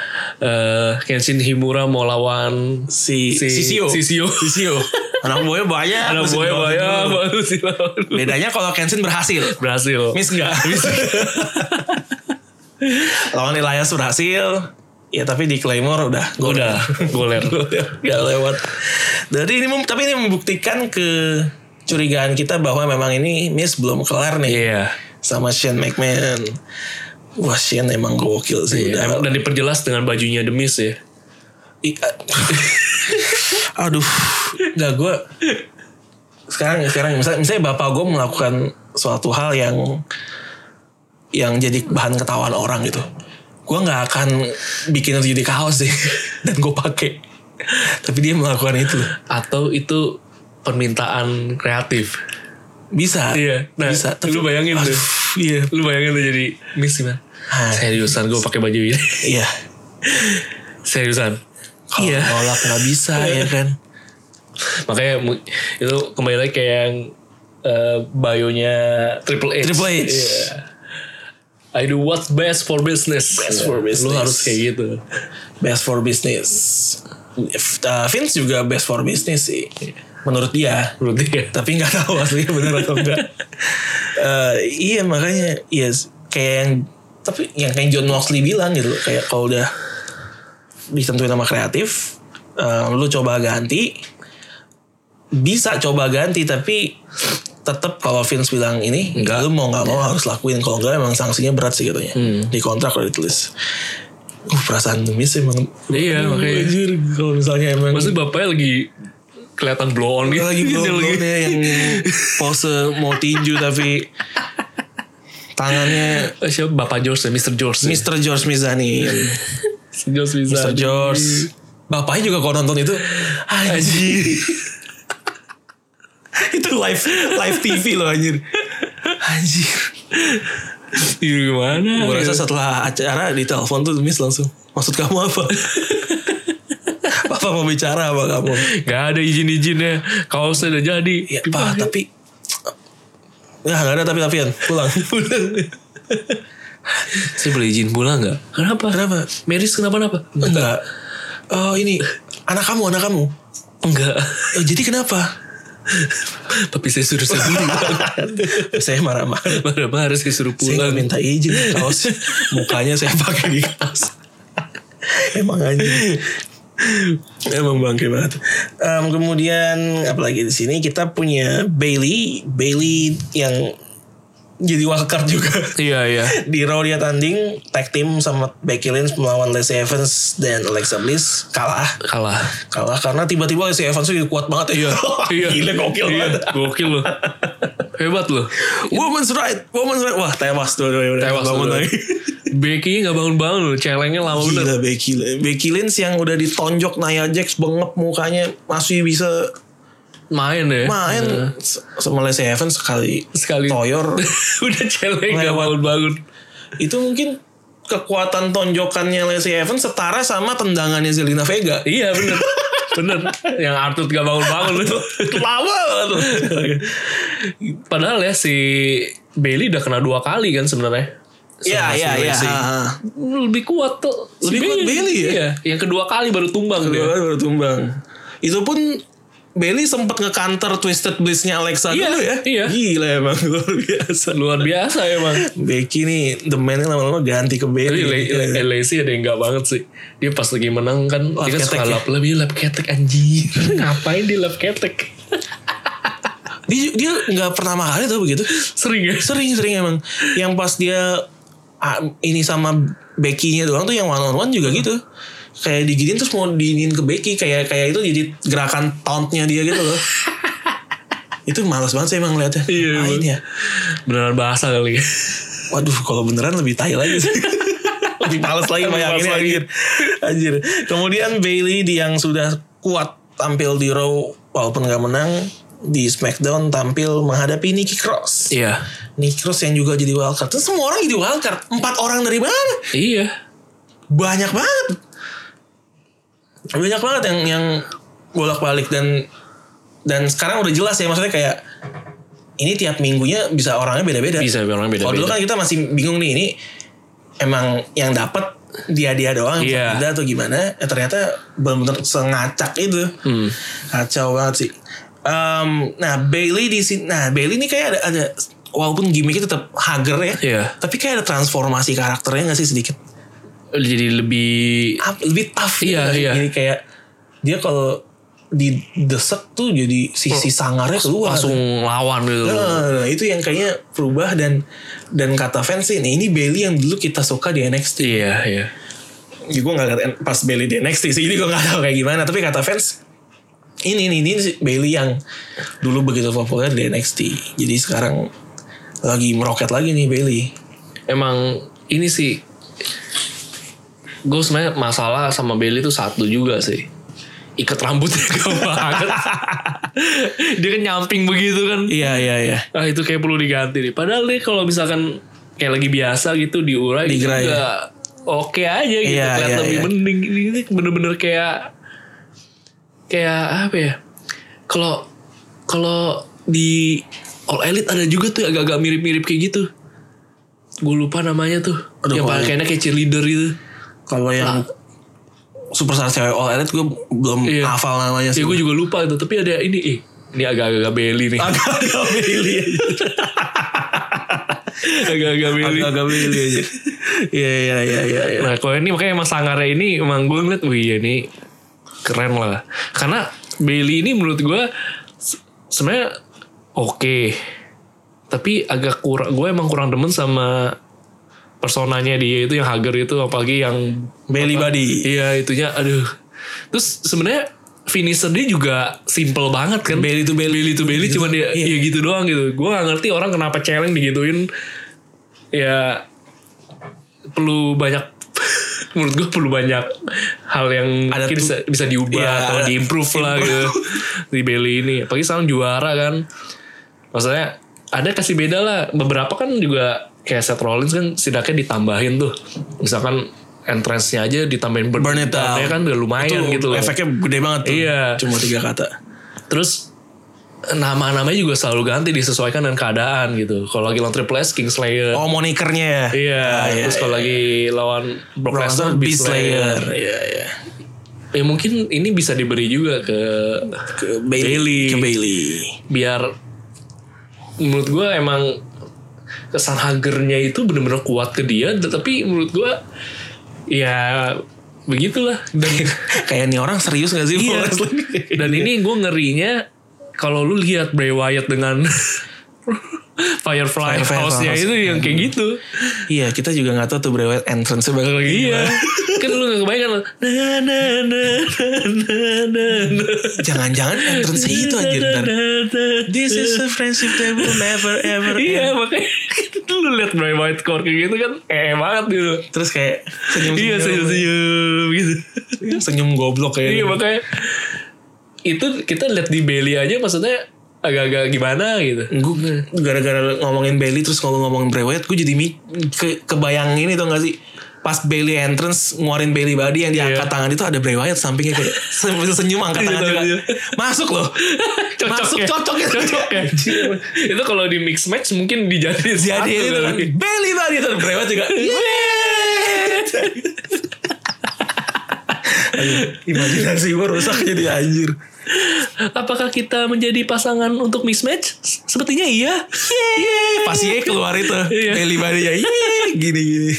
S2: eh, Kenshin Himura mau lawan
S1: si si Sio
S2: Sio.
S1: anak buahnya banyak
S2: Anak
S1: mesti
S2: buahnya
S1: dilawan
S2: banyak
S1: dulu.
S2: baru sih lawan.
S1: bedanya kalau Kenshin berhasil
S2: Berhasil.
S1: Miss enggak lawan Elias berhasil ya tapi di Claymore udah gua
S2: Udah, goler.
S1: Gak lewat. Jadi ini mem- tapi ini membuktikan kecurigaan kita bahwa memang ini Miss belum kelar nih
S2: Iya.
S1: sama Shane McMahon. Wah Shane emang gokil sih.
S2: Iya,
S1: udah.
S2: emang- dan diperjelas dengan bajunya demis ya.
S1: I- a- Aduh, nggak gue. Sekarang sekarang misalnya, misalnya bapak gue melakukan suatu hal yang yang jadi bahan ketawaan orang gitu. Gue nggak akan bikin itu jadi kaos sih dan gue pakai. Tapi dia melakukan itu.
S2: Atau itu permintaan kreatif.
S1: Bisa.
S2: Iya. Nah,
S1: bisa.
S2: lu bayangin
S1: Aduh,
S2: tuh.
S1: Iya.
S2: Lu bayangin tuh jadi miss gimana?
S1: Hah.
S2: Seriusan gue pakai baju ini.
S1: Ah, Iya.
S2: Seriusan.
S1: Kalau
S2: Iya.
S1: nolak nggak bisa ya kan.
S2: Makanya mu- itu kembali lagi kayak yang eh, bayonya Triple H.
S1: Triple H.
S2: Iya. I do what's best for business.
S1: Best for
S2: Lu
S1: business.
S2: harus kayak gitu.
S1: Best for business. If- uh, Vince juga best for business sih. Menurut dia.
S2: Menurut dia.
S1: Tapi nggak tahu aslinya bener atau enggak. Eh, iya makanya. Iya. kayak yang. Tapi yang kayak John Moxley bilang gitu. loh, Kayak kalau udah. Ditentuin sama kreatif. eh, lu coba ganti. Bisa coba ganti. Tapi tetap kalau Vince bilang ini enggak lu mau nggak mau harus lakuin kalau enggak emang sanksinya berat sih katanya
S2: Hmm.
S1: di kontrak udah ditulis uh perasaan demis emang
S2: Iya,
S1: Aduh,
S2: makanya.
S1: anjir, kalau misalnya emang
S2: Maksudnya bapaknya lagi kelihatan blow on gitu.
S1: Iya lagi
S2: Dia
S1: belum ya, yang pose mau tinju tapi tangannya
S2: Eh, Siapa Bapak George ya? Mr. George. ya?
S1: Mr. George Mizani
S2: Mr. George
S1: Mr.
S2: bisa.
S1: George bapaknya juga kalau nonton itu anjir itu live live TV loh anjir anjir
S2: Iya, gimana?
S1: gue
S2: Gitu.
S1: rasa setelah acara ditelepon tuh Miss langsung maksud kamu apa Papa mau bicara sama kamu
S2: Gak ada izin-izinnya. Kaosnya udah jadi.
S1: Ya, Pak, tapi Ya, gak ada tapi-tapian. Pulang.
S2: Saya boleh izin pulang gak? Kenapa?
S1: Kenapa?
S2: Meris kenapa-napa?
S1: Enggak. Oh, ini anak kamu, anak kamu.
S2: Enggak.
S1: Eh, jadi kenapa?
S2: Tapi saya suruh saya pulang.
S1: saya marah-marah.
S2: Marah-marah saya suruh
S1: Saya nggak
S2: pulang.
S1: minta izin ya, kaos. Mukanya saya pakai di kaos. Emang anjing. Emang bangke banget. Em, kemudian apalagi di sini kita punya Bailey, Bailey yang jadi wildcard juga.
S2: Iya, iya.
S1: di Raw dia tanding tag team sama Becky Lynch melawan Lacey Evans dan Alexa Bliss kalah
S2: Kalah.
S1: kalah karena tiba-tiba Lacey Evans itu kuat banget ya gila gokil
S2: Iya,
S1: banget
S2: Gokil loh. Hebat loh.
S1: woman's right woman's right wah tewas tuh udah
S2: Tewas
S1: bangun
S2: loh.
S1: lagi
S2: Becky gak bangun-bangun loh. Celengnya lama bener.
S1: gila Becky Lynch Becky Lynch yang udah ditonjok Nia Jax bengep mukanya masih bisa
S2: Main ya.
S1: main S- sama Lacey Evans sekali
S2: Sekali.
S1: toyor
S2: Udah celeng
S1: Lewat.
S2: gak bangun-bangun.
S1: itu mungkin kekuatan tonjokannya Lacey Evans setara sama tendangannya Zelina Vega
S2: Iya bener. bener. Yang Arthur gak bangun-bangun loh.
S1: lama banget
S2: Padahal ya si Bailey udah kena dua kali kan sebenarnya.
S1: Iya,
S2: Sama si
S1: iya, iya.
S2: Lacey.
S1: Ha, ha.
S2: Lebih kuat tuh. si
S1: Lebih kuat Bailey ya?
S2: Iya. Yang kedua kali baru tumbang
S1: Kedua
S2: dia.
S1: kali baru tumbang. Itu pun Bailey sempat nge-counter Twisted Bliss-nya Alexa
S2: Iya,
S1: dulu ya.
S2: iya.
S1: Gila emang luar biasa.
S2: Luar biasa emang.
S1: Becky nih the man lama-lama ganti ke Iya.
S2: Tapi
S1: Bailey.
S2: Le- Le- Le- Lacey ada yang gak banget sih. Dia pas lagi menang kan.
S1: Lap
S2: dia kan
S1: ketek
S2: suka
S1: ya?
S2: lap. Lebih lap ketek anjir. Ngapain dia lap ketek?
S1: Dia dia nggak pertama kali tuh begitu.
S2: Sering ya?
S1: Sering-sering emang. Yang pas dia ah, ini sama Becky-nya doang tuh yang one on one juga gitu. Kayak diginin terus mau diinin ke Becky kayak kayak itu jadi gerakan tauntnya dia gitu loh. itu malas banget saya emang ngeliatnya.
S2: Iya,
S1: Ngapain
S2: emang.
S1: ya.
S2: Beneran bahasa kali. ya?
S1: Waduh, kalau beneran lebih tai lagi sih. lebih males lagi
S2: Lebih
S1: bayanginnya
S2: males lagi.
S1: anjir. Anjir. Kemudian Bailey di yang sudah kuat tampil di Raw walaupun nggak menang di SmackDown tampil menghadapi Nikki Cross.
S2: Iya.
S1: Nikki Cross yang juga jadi wildcard. Terus semua orang jadi wildcard. Empat orang dari mana?
S2: Iya.
S1: Banyak banget. Banyak banget yang yang bolak-balik dan dan sekarang udah jelas ya maksudnya kayak ini tiap minggunya bisa orangnya beda-beda.
S2: Bisa orang
S1: Kalau dulu
S2: beda-beda.
S1: kan kita masih bingung nih ini emang yang dapat dia dia doang
S2: Iya.
S1: tidak atau gimana? Eh, ternyata benar-benar sengacak itu.
S2: Hmm.
S1: Kacau banget sih. Em, nah Bailey di sini, nah Bailey ini kayak ada, ada walaupun gimmicknya tetap hager ya,
S2: Iya.
S1: tapi kayak ada transformasi karakternya nggak sih sedikit?
S2: Jadi lebih
S1: Up- Lebih tough. gitu
S2: Iya,
S1: nggak sih?
S2: iya.
S1: Jadi kayak dia kalau didesek tuh jadi sisi sangarnya keluar.
S2: langsung lawan gitu.
S1: Nah, itu yang kayaknya berubah dan dan kata fans sih ini, ini Bailey yang dulu kita suka di NXT.
S2: Iya, iya.
S1: Ya, gue nggak ngerti pas Bailey di NXT sih, jadi gue nggak tahu kayak gimana. Tapi kata fans ini ini ini si Bailey yang dulu begitu populer di NXT. Jadi sekarang lagi meroket lagi nih Bailey.
S2: Emang ini sih gue sebenarnya masalah sama Bailey itu satu juga sih. ikat rambutnya gak banget. dia kan nyamping begitu kan.
S1: Iya iya iya.
S2: Ah itu kayak perlu diganti nih. Padahal deh kalau misalkan kayak lagi biasa gitu diurai gitu
S1: Digerai,
S2: juga oke aja gitu.
S1: Iya,
S2: Kelihatan
S1: iya,
S2: lebih
S1: iya.
S2: mending. Ini ini bener-bener kayak kayak apa ya? Kalau kalau di All Elite ada juga tuh agak-agak mirip-mirip kayak gitu. Gue lupa namanya tuh.
S1: Aduh,
S2: yang
S1: kalau-
S2: pakainya kayak cheerleader gitu.
S1: Kalau yang superstar cewek all elite gue belum
S2: Iya.
S1: hafal namanya
S2: Ya
S1: sih.
S2: gue juga lupa gitu. Tapi ada ini eh ini agak-agak belly nih.
S1: Ah. Agak-agak milih aja.
S2: agak-agak belly.
S1: Agak-agak milih aja. Iya iya iya iya. iya.
S2: Nah kalau ini makanya emang sangarnya ini emang gue ngeliat wih ya ini keren lah. Karena Bailey ini menurut gue se- sebenarnya oke. Tapi agak kurang, gue emang kurang demen sama personanya dia itu yang hager itu apalagi yang
S1: Belly body.
S2: iya itunya aduh. Terus sebenarnya finisher dia juga simple banget kan.
S1: Belly to belly.
S2: Bailey to Bailey cuman dia
S1: Iya.
S2: ya gitu doang gitu. Gue gak ngerti orang kenapa challenge digituin. Ya perlu banyak menurut gue perlu banyak hal yang
S1: Ada
S2: mungkin
S1: tuh-
S2: bisa, bisa diubah
S1: Iya,
S2: atau
S1: ada-
S2: diimprove lah gitu di Bailey ini. Apalagi sekarang juara kan. Maksudnya ada kasih beda lah. Beberapa kan juga kayak Seth Rollins kan setidaknya ditambahin tuh. Misalkan entrance-nya aja ditambahin burn,
S1: Burn it down.
S2: kan udah lumayan
S1: Itu
S2: gitu loh.
S1: Efeknya gede banget tuh.
S2: Iya.
S1: Cuma tiga kata.
S2: Terus nama-namanya juga selalu ganti disesuaikan dengan keadaan gitu. Kalau lagi lawan Triple S Kingslayer.
S1: Oh monikernya ya.
S2: Iya,
S1: Ah, iya,
S2: terus kalau
S1: iya.
S2: lagi lawan Brock
S1: Brock
S2: Lesnar
S1: Lesnar Beast Slayer.
S2: Beastlayer.
S1: Iya iya.
S2: Ya mungkin ini bisa diberi juga ke
S1: Ke Bailey.
S2: Bailey.
S1: Ke Bailey.
S2: biar menurut gue emang kesan hagernya itu bener-bener kuat ke dia tapi menurut gue ya begitulah
S1: Iya.
S2: dan
S1: Kayak nih orang serius gak sih?
S2: Iya.
S1: mau wrestling?
S2: Dan ini gue ngerinya kalau lu lihat Bray Wyatt dengan Firefly,
S1: Firefly
S2: House-nya
S1: House.
S2: itu yang kayak gitu.
S1: Iya kita juga gak tahu tuh brewet entrance bakal kayak
S2: Iya.
S1: gimana.
S2: kan lu gak kebayang kan. Na, na, na, na, na, na.
S1: Jangan-jangan entrance itu anjir
S2: Na,
S1: ntar.
S2: na, na, na.
S1: This is a friendship that will never ever end.
S2: Iya makanya lu lihat Bray Wyatt keluar kayak gitu kan eh banget gitu.
S1: Terus kayak senyum
S2: Iya senyum-senyum gitu.
S1: senyum goblok kayak gitu.
S2: Iya makanya itu kita lihat di Bailey aja maksudnya agak-agak gimana gitu.
S1: gue gara-gara ngomongin Bailey terus kalau ngomongin Bray Wyatt gue jadi mi- ke kebayang ini tuh gak sih pas Bailey entrance ngeluarin Bailey body yang diangkat
S2: Iya.
S1: tangan itu ada Bray Wyatt sampingnya kayak sambil senyum angkat
S2: Iya,
S1: tangan juga
S2: iya.
S1: masuk loh
S2: cocok
S1: masuk
S2: ya.
S1: cocok ya
S2: cocok ya. itu kalau di mix match mungkin dijadiin
S1: jadi
S2: satu
S1: itu kan
S2: kali.
S1: Bailey body terus Bray Wyatt juga
S2: Iya.
S1: yeay. Aduh, Imajinasi gue rusak jadi anjir
S2: apakah kita menjadi pasangan untuk mix match S- sepertinya iya
S1: Yeay. Pas Ye keluar itu
S2: Iya.
S1: Bailey body ya Gini gini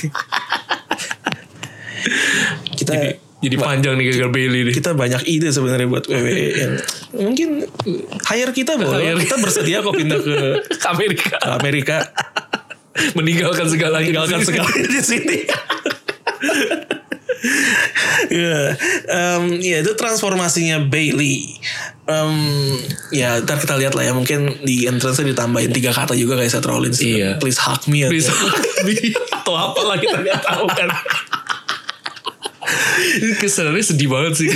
S1: Kita
S2: jadi panjang nih gagal Bailey nih
S1: kita banyak ide sebenarnya buat WWE yang mungkin hire kita boleh
S2: Hire.
S1: kita bersedia kok pindah ke
S2: ke Amerika
S1: Amerika
S2: meninggalkan segala
S1: tinggalkan segala di sini Ya, Em, ya itu transformasinya Bailey. Em, ya ntar kita lihat lah ya mungkin di entrance ditambahin tiga kata juga kayak Seth Rollins.
S2: Iya.
S1: Please hug me. ya. atau-
S2: bisa atau apa lah kita nggak tahu kan Ini kesannya sedih banget sih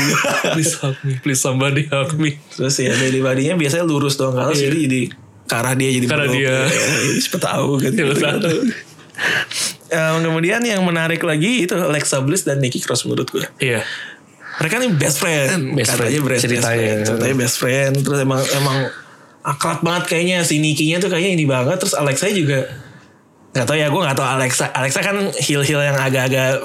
S2: please help me please somebody help me
S1: Terus ya Bailey badinya biasanya lurus doang kalau
S2: Iya.
S1: jadi jadi ke arah dia jadi Ya,
S2: Karena dia.
S1: Siapa tahu gitu.
S2: Siapa tahu.
S1: Em, Eh, kemudian yang menarik lagi itu Alexa Bliss dan Nikki Cross menurut gue.
S2: iya
S1: Mereka nih best friend.
S2: Kan, Best
S1: Katanya
S2: friend,
S1: best-
S2: ceritanya.
S1: best friend. Ceritanya best friend. Terus emang emang akrab banget kayaknya si Nikinya tuh kayaknya ini banget. Terus Alexa juga nggak tahu ya gue nggak tahu Alexa. Alexa kan heel heel yang agak-agak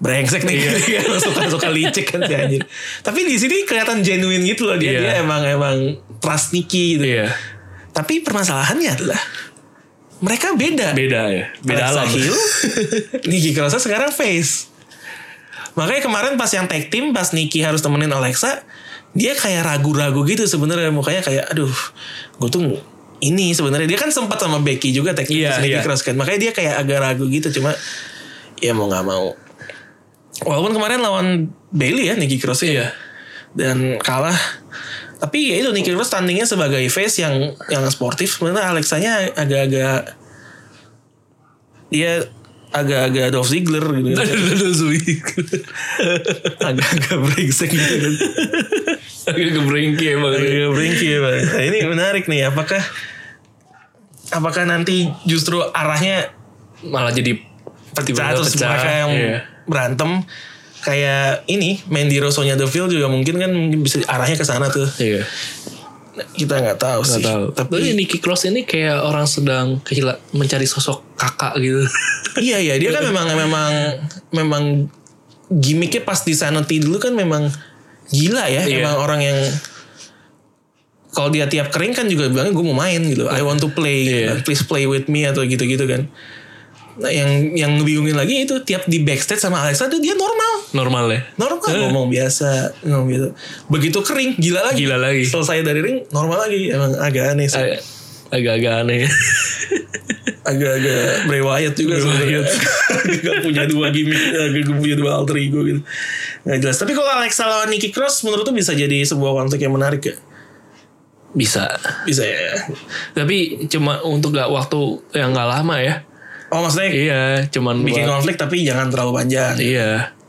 S1: brengsek nih
S2: Iya.
S1: gitu kan. suka suka licik kan si anjir. Tapi di sini kelihatan genuine gitu loh dia
S2: Iya.
S1: dia emang emang trust Niki gitu.
S2: iya
S1: Tapi permasalahannya adalah mereka beda.
S2: beda ya beda
S1: Alexa
S2: alam
S1: Hill, Nikki Cross sekarang face. Makanya kemarin pas yang tag team pas Nikki harus temenin Alexa, dia kayak ragu-ragu gitu sebenarnya mukanya kayak aduh, gue tuh ini sebenarnya dia kan sempat sama Becky juga tag team
S2: Iya,
S1: pas Nikki
S2: iya.
S1: Cross kan. Makanya dia kayak agak ragu gitu cuma ya mau nggak mau. Walaupun kemarin lawan Bailey ya Nikki Cross
S2: iya
S1: dan kalah. Tapi ya itu Nikki Cross tandingnya sebagai face yang yang sportif sebenarnya Alexanya agak-agak dia agak-agak Dolph Ziggler gitu. kan.
S2: Ada Zuli.
S1: agak-agak brengsek gitu. kan.
S2: Agak kebrengki emang.
S1: Agak-agak brengsek ya, Pak. Nah, ini menarik nih. Apakah apakah nanti justru arahnya
S2: Malah jadi
S1: pecah
S2: tiba-tiba
S1: terus mereka yang
S2: Iya.
S1: berantem kayak ini Mandy Rose-nya The Field juga mungkin kan mungkin bisa arahnya ke sana tuh.
S2: Iya.
S1: Nah, Kita nggak tahu
S2: Gak
S1: sih.
S2: tahu.
S1: Tapi
S2: Tapi Nicky Cross ini kayak orang sedang kehila- mencari sosok kakak gitu.
S1: iya iya dia kan memang memang memang gimmicknya pas di Sanity dulu kan memang gila ya
S2: Iya.
S1: memang orang yang kalau dia tiap kering kan juga bilangnya gue mau main gitu I want to play gitu.
S2: Iya.
S1: please play with me atau gitu-gitu kan nah yang yang ngebingungin lagi itu tiap di backstage sama Alexa tuh dia normal
S2: Normal ya.
S1: normal kan? ngomong biasa ngomong gitu begitu kering gila lagi
S2: Gila lagi.
S1: selesai dari ring normal lagi emang agak aneh sih
S2: Ag- Agak-agak aneh.
S1: agak-agag Bray Wyatt juga sebenarnya. Agak punya dua gimmick, agak punya dua alter ego gitu. Nggak jelas. Tapi kalau Alexa lawan Nikki Cross menurut tuh bisa jadi sebuah konflik yang menarik ya?
S2: Bisa.
S1: Bisa ya.
S2: Tapi cuma untuk gak waktu yang gak lama ya.
S1: Oh maksudnya
S2: Iya, cuman
S1: bikin ya.
S2: buat-
S1: konflik tapi jangan terlalu panjang.
S2: Iya.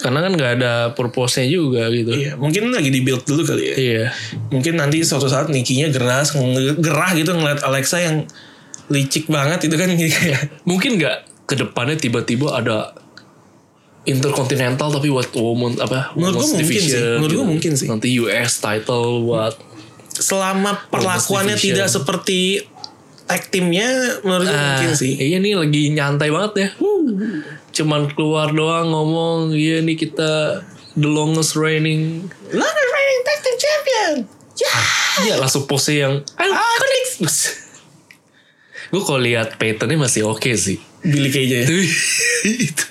S2: Karena kan gak ada purpose-nya juga gitu.
S1: Iya, mungkin lagi di build dulu kali ya.
S2: Iya.
S1: Mungkin nanti suatu saat Nikinya geras, nge- gerah gitu ngeliat Alexa yang licik banget itu kan jadi kayak
S2: Mungkin gak ke depannya tiba-tiba ada Intercontinental tapi buat woman apa
S1: Menurut gua
S2: women's
S1: mungkin sih.
S2: division gitu.
S1: Menurut gua mungkin sih.
S2: nanti US title buat Iya,
S1: selama perlakuannya
S2: division.
S1: tidak seperti tag timnya menurut gue mungkin sih.
S2: Iya nih lagi nyantai banget ya. Cuman keluar doang ngomong, iya nih kita the longest reigning.
S1: Lana reigning tag team champion. Ya.
S2: Iya langsung pose yang Gue kalau lihat patternnya masih oke sih.
S1: Billy Cage ya.
S2: Tapi itu.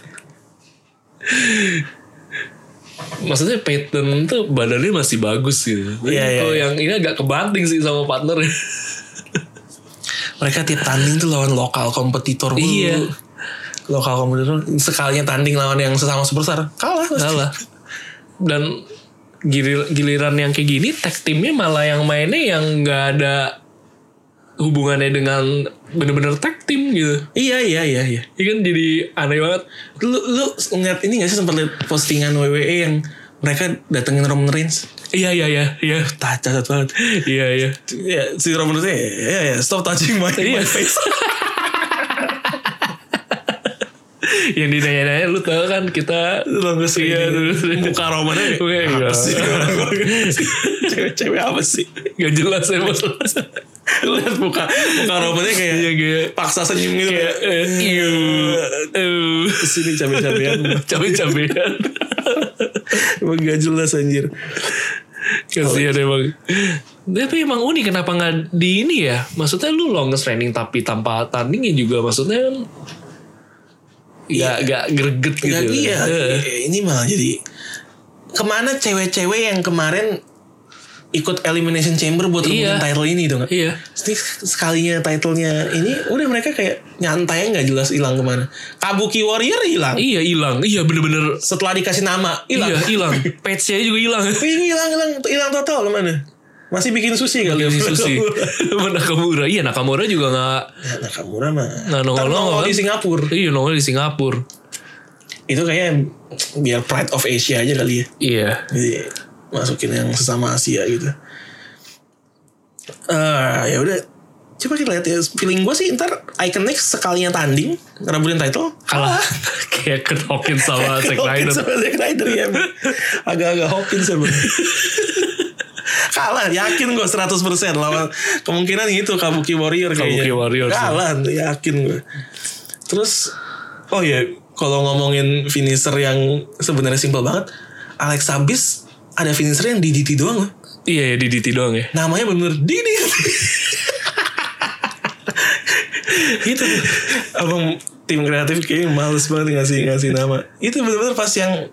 S2: Maksudnya pattern tuh badannya masih bagus gitu. Tapi
S1: Iya, iya,
S2: kalau
S1: iya.
S2: yang ini agak kebanting sih sama partnernya.
S1: Mereka tiap tanding tuh lawan lokal kompetitor mulu.
S2: Iya.
S1: Lokal kompetitor sekalinya tanding lawan yang sesama superstar kalah pasti.
S2: Salah. Dan gilir- giliran yang kayak gini tag timnya malah yang mainnya yang nggak ada hubungannya dengan bener-bener tag tim gitu.
S1: Iya iya iya iya.
S2: Ini kan jadi aneh banget.
S1: Lu lu ngeliat ini gak sih sempat liat postingan WWE yang mereka datengin Roman Reigns?
S2: Iya iya iya iya
S1: Tah cacat banget.
S2: iya iya.
S1: Ya, si Roman Reigns ya, ya, ya stop touching my, my
S2: Iya.
S1: face.
S2: yang ditanya-nanya lu tau kan kita
S1: Lalu gue
S2: Iya, terus.
S1: Muka Roman aja.
S2: Weh,
S1: Apa
S2: iya.
S1: sih? Cewek-cewek apa sih?
S2: gak jelas ya bos.
S1: Lu liat muka, muka Romannya kayak
S2: Iya kayak
S1: paksa senyum gitu.
S2: kayak, eh, iu, eh,
S1: Sini cabe-cabean.
S2: cabe-cabean.
S1: Emang gak jelas anjir
S2: Kasihan emang. Tapi emang unik kenapa nggak di ini ya? Maksudnya lu longest training tapi tanpa tandingnya juga maksudnya kan nggak nggak greget gitu.
S1: Gak iya
S2: Eh,
S1: Ini malah jadi Kemana cewek-cewek yang kemarin Ikut Elimination Chamber buat
S2: Iya.
S1: rebutin title ini tuh gak?
S2: Iya.
S1: Jadi sekalinya titlenya ini Udah mereka kayak nyantai nggak jelas hilang kemana Kabuki Warrior hilang
S2: Iya hilang. Iya bener-bener.
S1: Setelah dikasih nama
S2: Iya
S1: hilang
S2: hilang. Patch-nya juga hilang.
S1: Ini hilang hilang Hilang total kemana Masih bikin sushi kali ya?
S2: Yang Susi. Nakamura. Iya Nakamura juga nggak
S1: Nah Nakamura mah
S2: nggak nongol-nongol
S1: Nongol di
S2: kan.
S1: Singapura
S2: Iya nongol di Singapura.
S1: Itu kayaknya Biar pride of Asia aja kali ya
S2: Iya.
S1: Jadi masukin yang sesama Asia gitu. Eh ya udah coba kita lihat ya feeling gue sih ntar Iconic sekalinya tanding ngerebutin title
S2: Kalah. Kayak Kurt Hawkins sama Zack
S1: Hawkins
S2: Ryder.
S1: sama Zack Ryder ya emang. agak-agak Hawkins emang kalah yakin gue 100% lawan kemungkinan itu Kabuki Warrior kayaknya
S2: Kabuki Warrior sih.
S1: kalah yakin gue terus oh ya kalau ngomongin finisher yang sebenarnya simpel banget Alex Bliss ada finisher yang DDT doang loh
S2: Iya ya DDT doang ya.
S1: namanya bener DDT itu abang tim kreatif kayaknya males banget ngasih ngasih nama itu bener-bener pas yang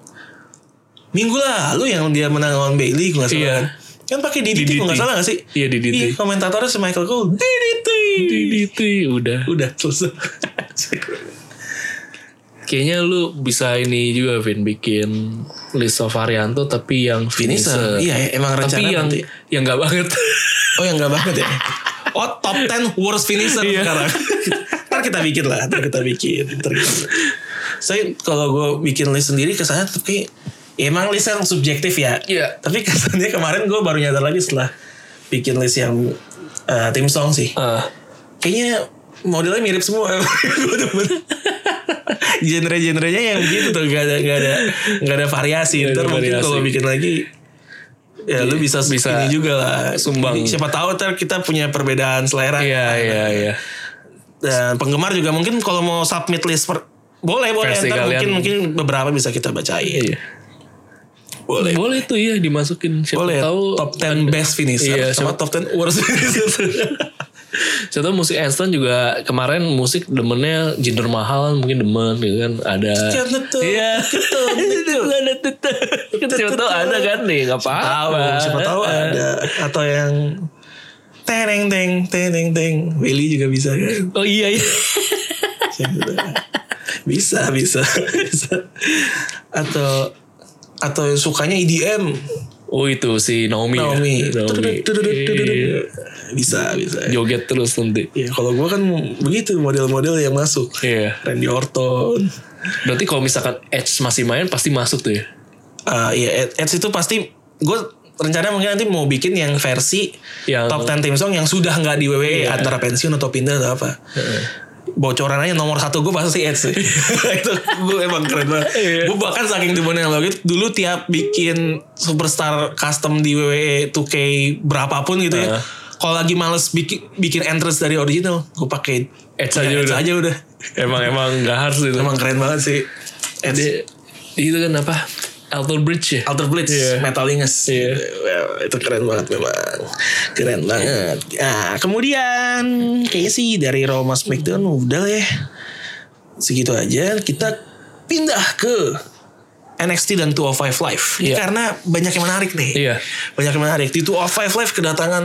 S1: minggu lalu yang dia menang lawan Bailey kalau nggak salah
S2: Iya.
S1: kan? kan pakai DDT, kalau nggak
S2: DDT.
S1: salah nggak sih
S2: Iya, DDT.
S1: iya komentatornya si Michael Cole DDT
S2: DDT udah.
S1: udah selesai
S2: Kayaknya lu bisa ini juga Vin bikin list of varianto tapi yang
S1: finisher
S2: finisher.
S1: iya ya, emang rencana
S2: tapi yang
S1: nanti
S2: yang nggak banget.
S1: oh yang nggak banget ya oh top 10 worst finisher
S2: Iya.
S1: sekarang ntar kita bikin lah, ntar kita bikin. Ntar kita- Saya kalau gue bikin list sendiri kesannya tapi ya emang list yang subjektif ya.
S2: Iya.
S1: Tapi kesannya kemarin gue baru nyadar lagi setelah bikin list yang eh, tim song sih.
S2: Eh,
S1: Kayaknya modelnya mirip semua. Gua demen. Genre-genrenya yang begitu tuh gak ada gak ada gak ada variasi.
S2: Gak ada
S1: Ntar mungkin
S2: variasi.
S1: kalau bikin lagi ya lu bisa
S2: Bisa
S1: ini juga lah
S2: sumbang.
S1: Jadi siapa tahu ntar kita punya perbedaan selera
S2: Iya iya
S1: nah,
S2: iya.
S1: dan penggemar juga mungkin kalau mau submit list per- boleh boleh
S2: Versi
S1: Ntar mungkin
S2: kalian.
S1: mungkin beberapa bisa kita bacain
S2: Iya.
S1: boleh
S2: Boleh tuh iya dimasukin siapa
S1: boleh ya.
S2: tahu
S1: top 10 best finisher
S2: Iya,
S1: sama top 10 worst finisher
S2: Siapa tahu musik Einstein juga kemarin musik demennya gender mahal mungkin demen gitu kan ada
S1: Siapa tahu.
S2: Iya. Siapa tahu ada kan nih enggak
S1: tahu
S2: apa-apa.
S1: siapa tahu ada atau yang tereng teng tereng teng Willy juga bisa kan
S2: Oh iya iya.
S1: Siapa tahu. bisa bisa bisa atau atau yang sukanya EDM
S2: Oh itu si Naomi. ya?
S1: Naomi
S2: Naomi. Iya.
S1: bisa bisa
S2: Joget terus nanti.
S1: Ya kalau gue kan begitu model-model yang masuk.
S2: Iya.
S1: Randy Orton.
S2: Berarti kalau misalkan Edge masih main pasti masuk tuh ya.
S1: Ah, Iya, Ed- Edge itu pasti gue rencana mungkin nanti mau bikin yang versi
S2: Yang- Iya.
S1: top 10 tim song yang sudah nggak di WWE antara pensiun atau pindah atau apa. Bocoran aja nomor satu gue pasti Edge sih. itu gue emang keren banget.
S2: Iya.
S1: Gue bahkan saking demennya sama gitu, dulu tiap bikin superstar custom di WWE 2K berapapun gitu ya.
S2: Heeh.
S1: Kalau lagi males bikin bikin entrance dari original, gue pakai
S2: Edge
S1: ya,
S2: aja
S1: Edge
S2: udah.
S1: aja udah.
S2: Emang emang nggak harus itu.
S1: Emang keren banget sih. Edge.
S2: Dia, itu kan apa? Alter Bridge ya.
S1: Outer Blitz,
S2: Iya.
S1: Metalingus.
S2: Iya.
S1: Well, itu keren banget memang. Keren banget. Nah, kemudian kayaknya sih dari Roma SmackDown udah lah ya. Segitu aja. Kita pindah ke NXT dan 205 Live.
S2: Iya.
S1: Karena banyak yang menarik nih.
S2: Iya.
S1: Banyak yang menarik. Di 205 Live kedatangan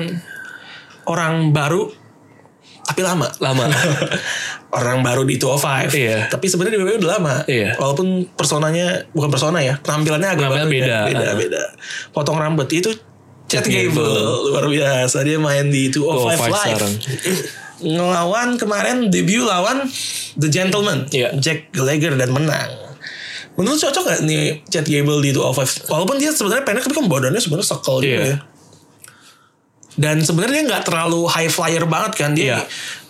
S1: orang baru tapi lama.
S2: Lama.
S1: orang baru di 205.
S2: Iya.
S1: Tapi sebenarnya di WWE udah lama.
S2: Iya.
S1: Walaupun personanya bukan persona ya, penampilannya agak
S2: Penampilan
S1: baru ya.
S2: beda.
S1: beda,
S2: Ah.
S1: beda. Potong rambut itu Chad
S2: Gable.
S1: Gable. luar biasa dia main di 205 Live.
S2: 205 Oh, sekarang.
S1: Ngelawan kemarin debut lawan The Gentleman,
S2: Iya.
S1: Jack Gallagher dan menang. Menurut cocok gak nih Chad Gable di 205? Walaupun dia sebenarnya pendek tapi kan badannya sebenarnya sekel juga
S2: Iya.
S1: ya. Dan sebenarnya nggak terlalu high flyer banget kan dia.
S2: Iya.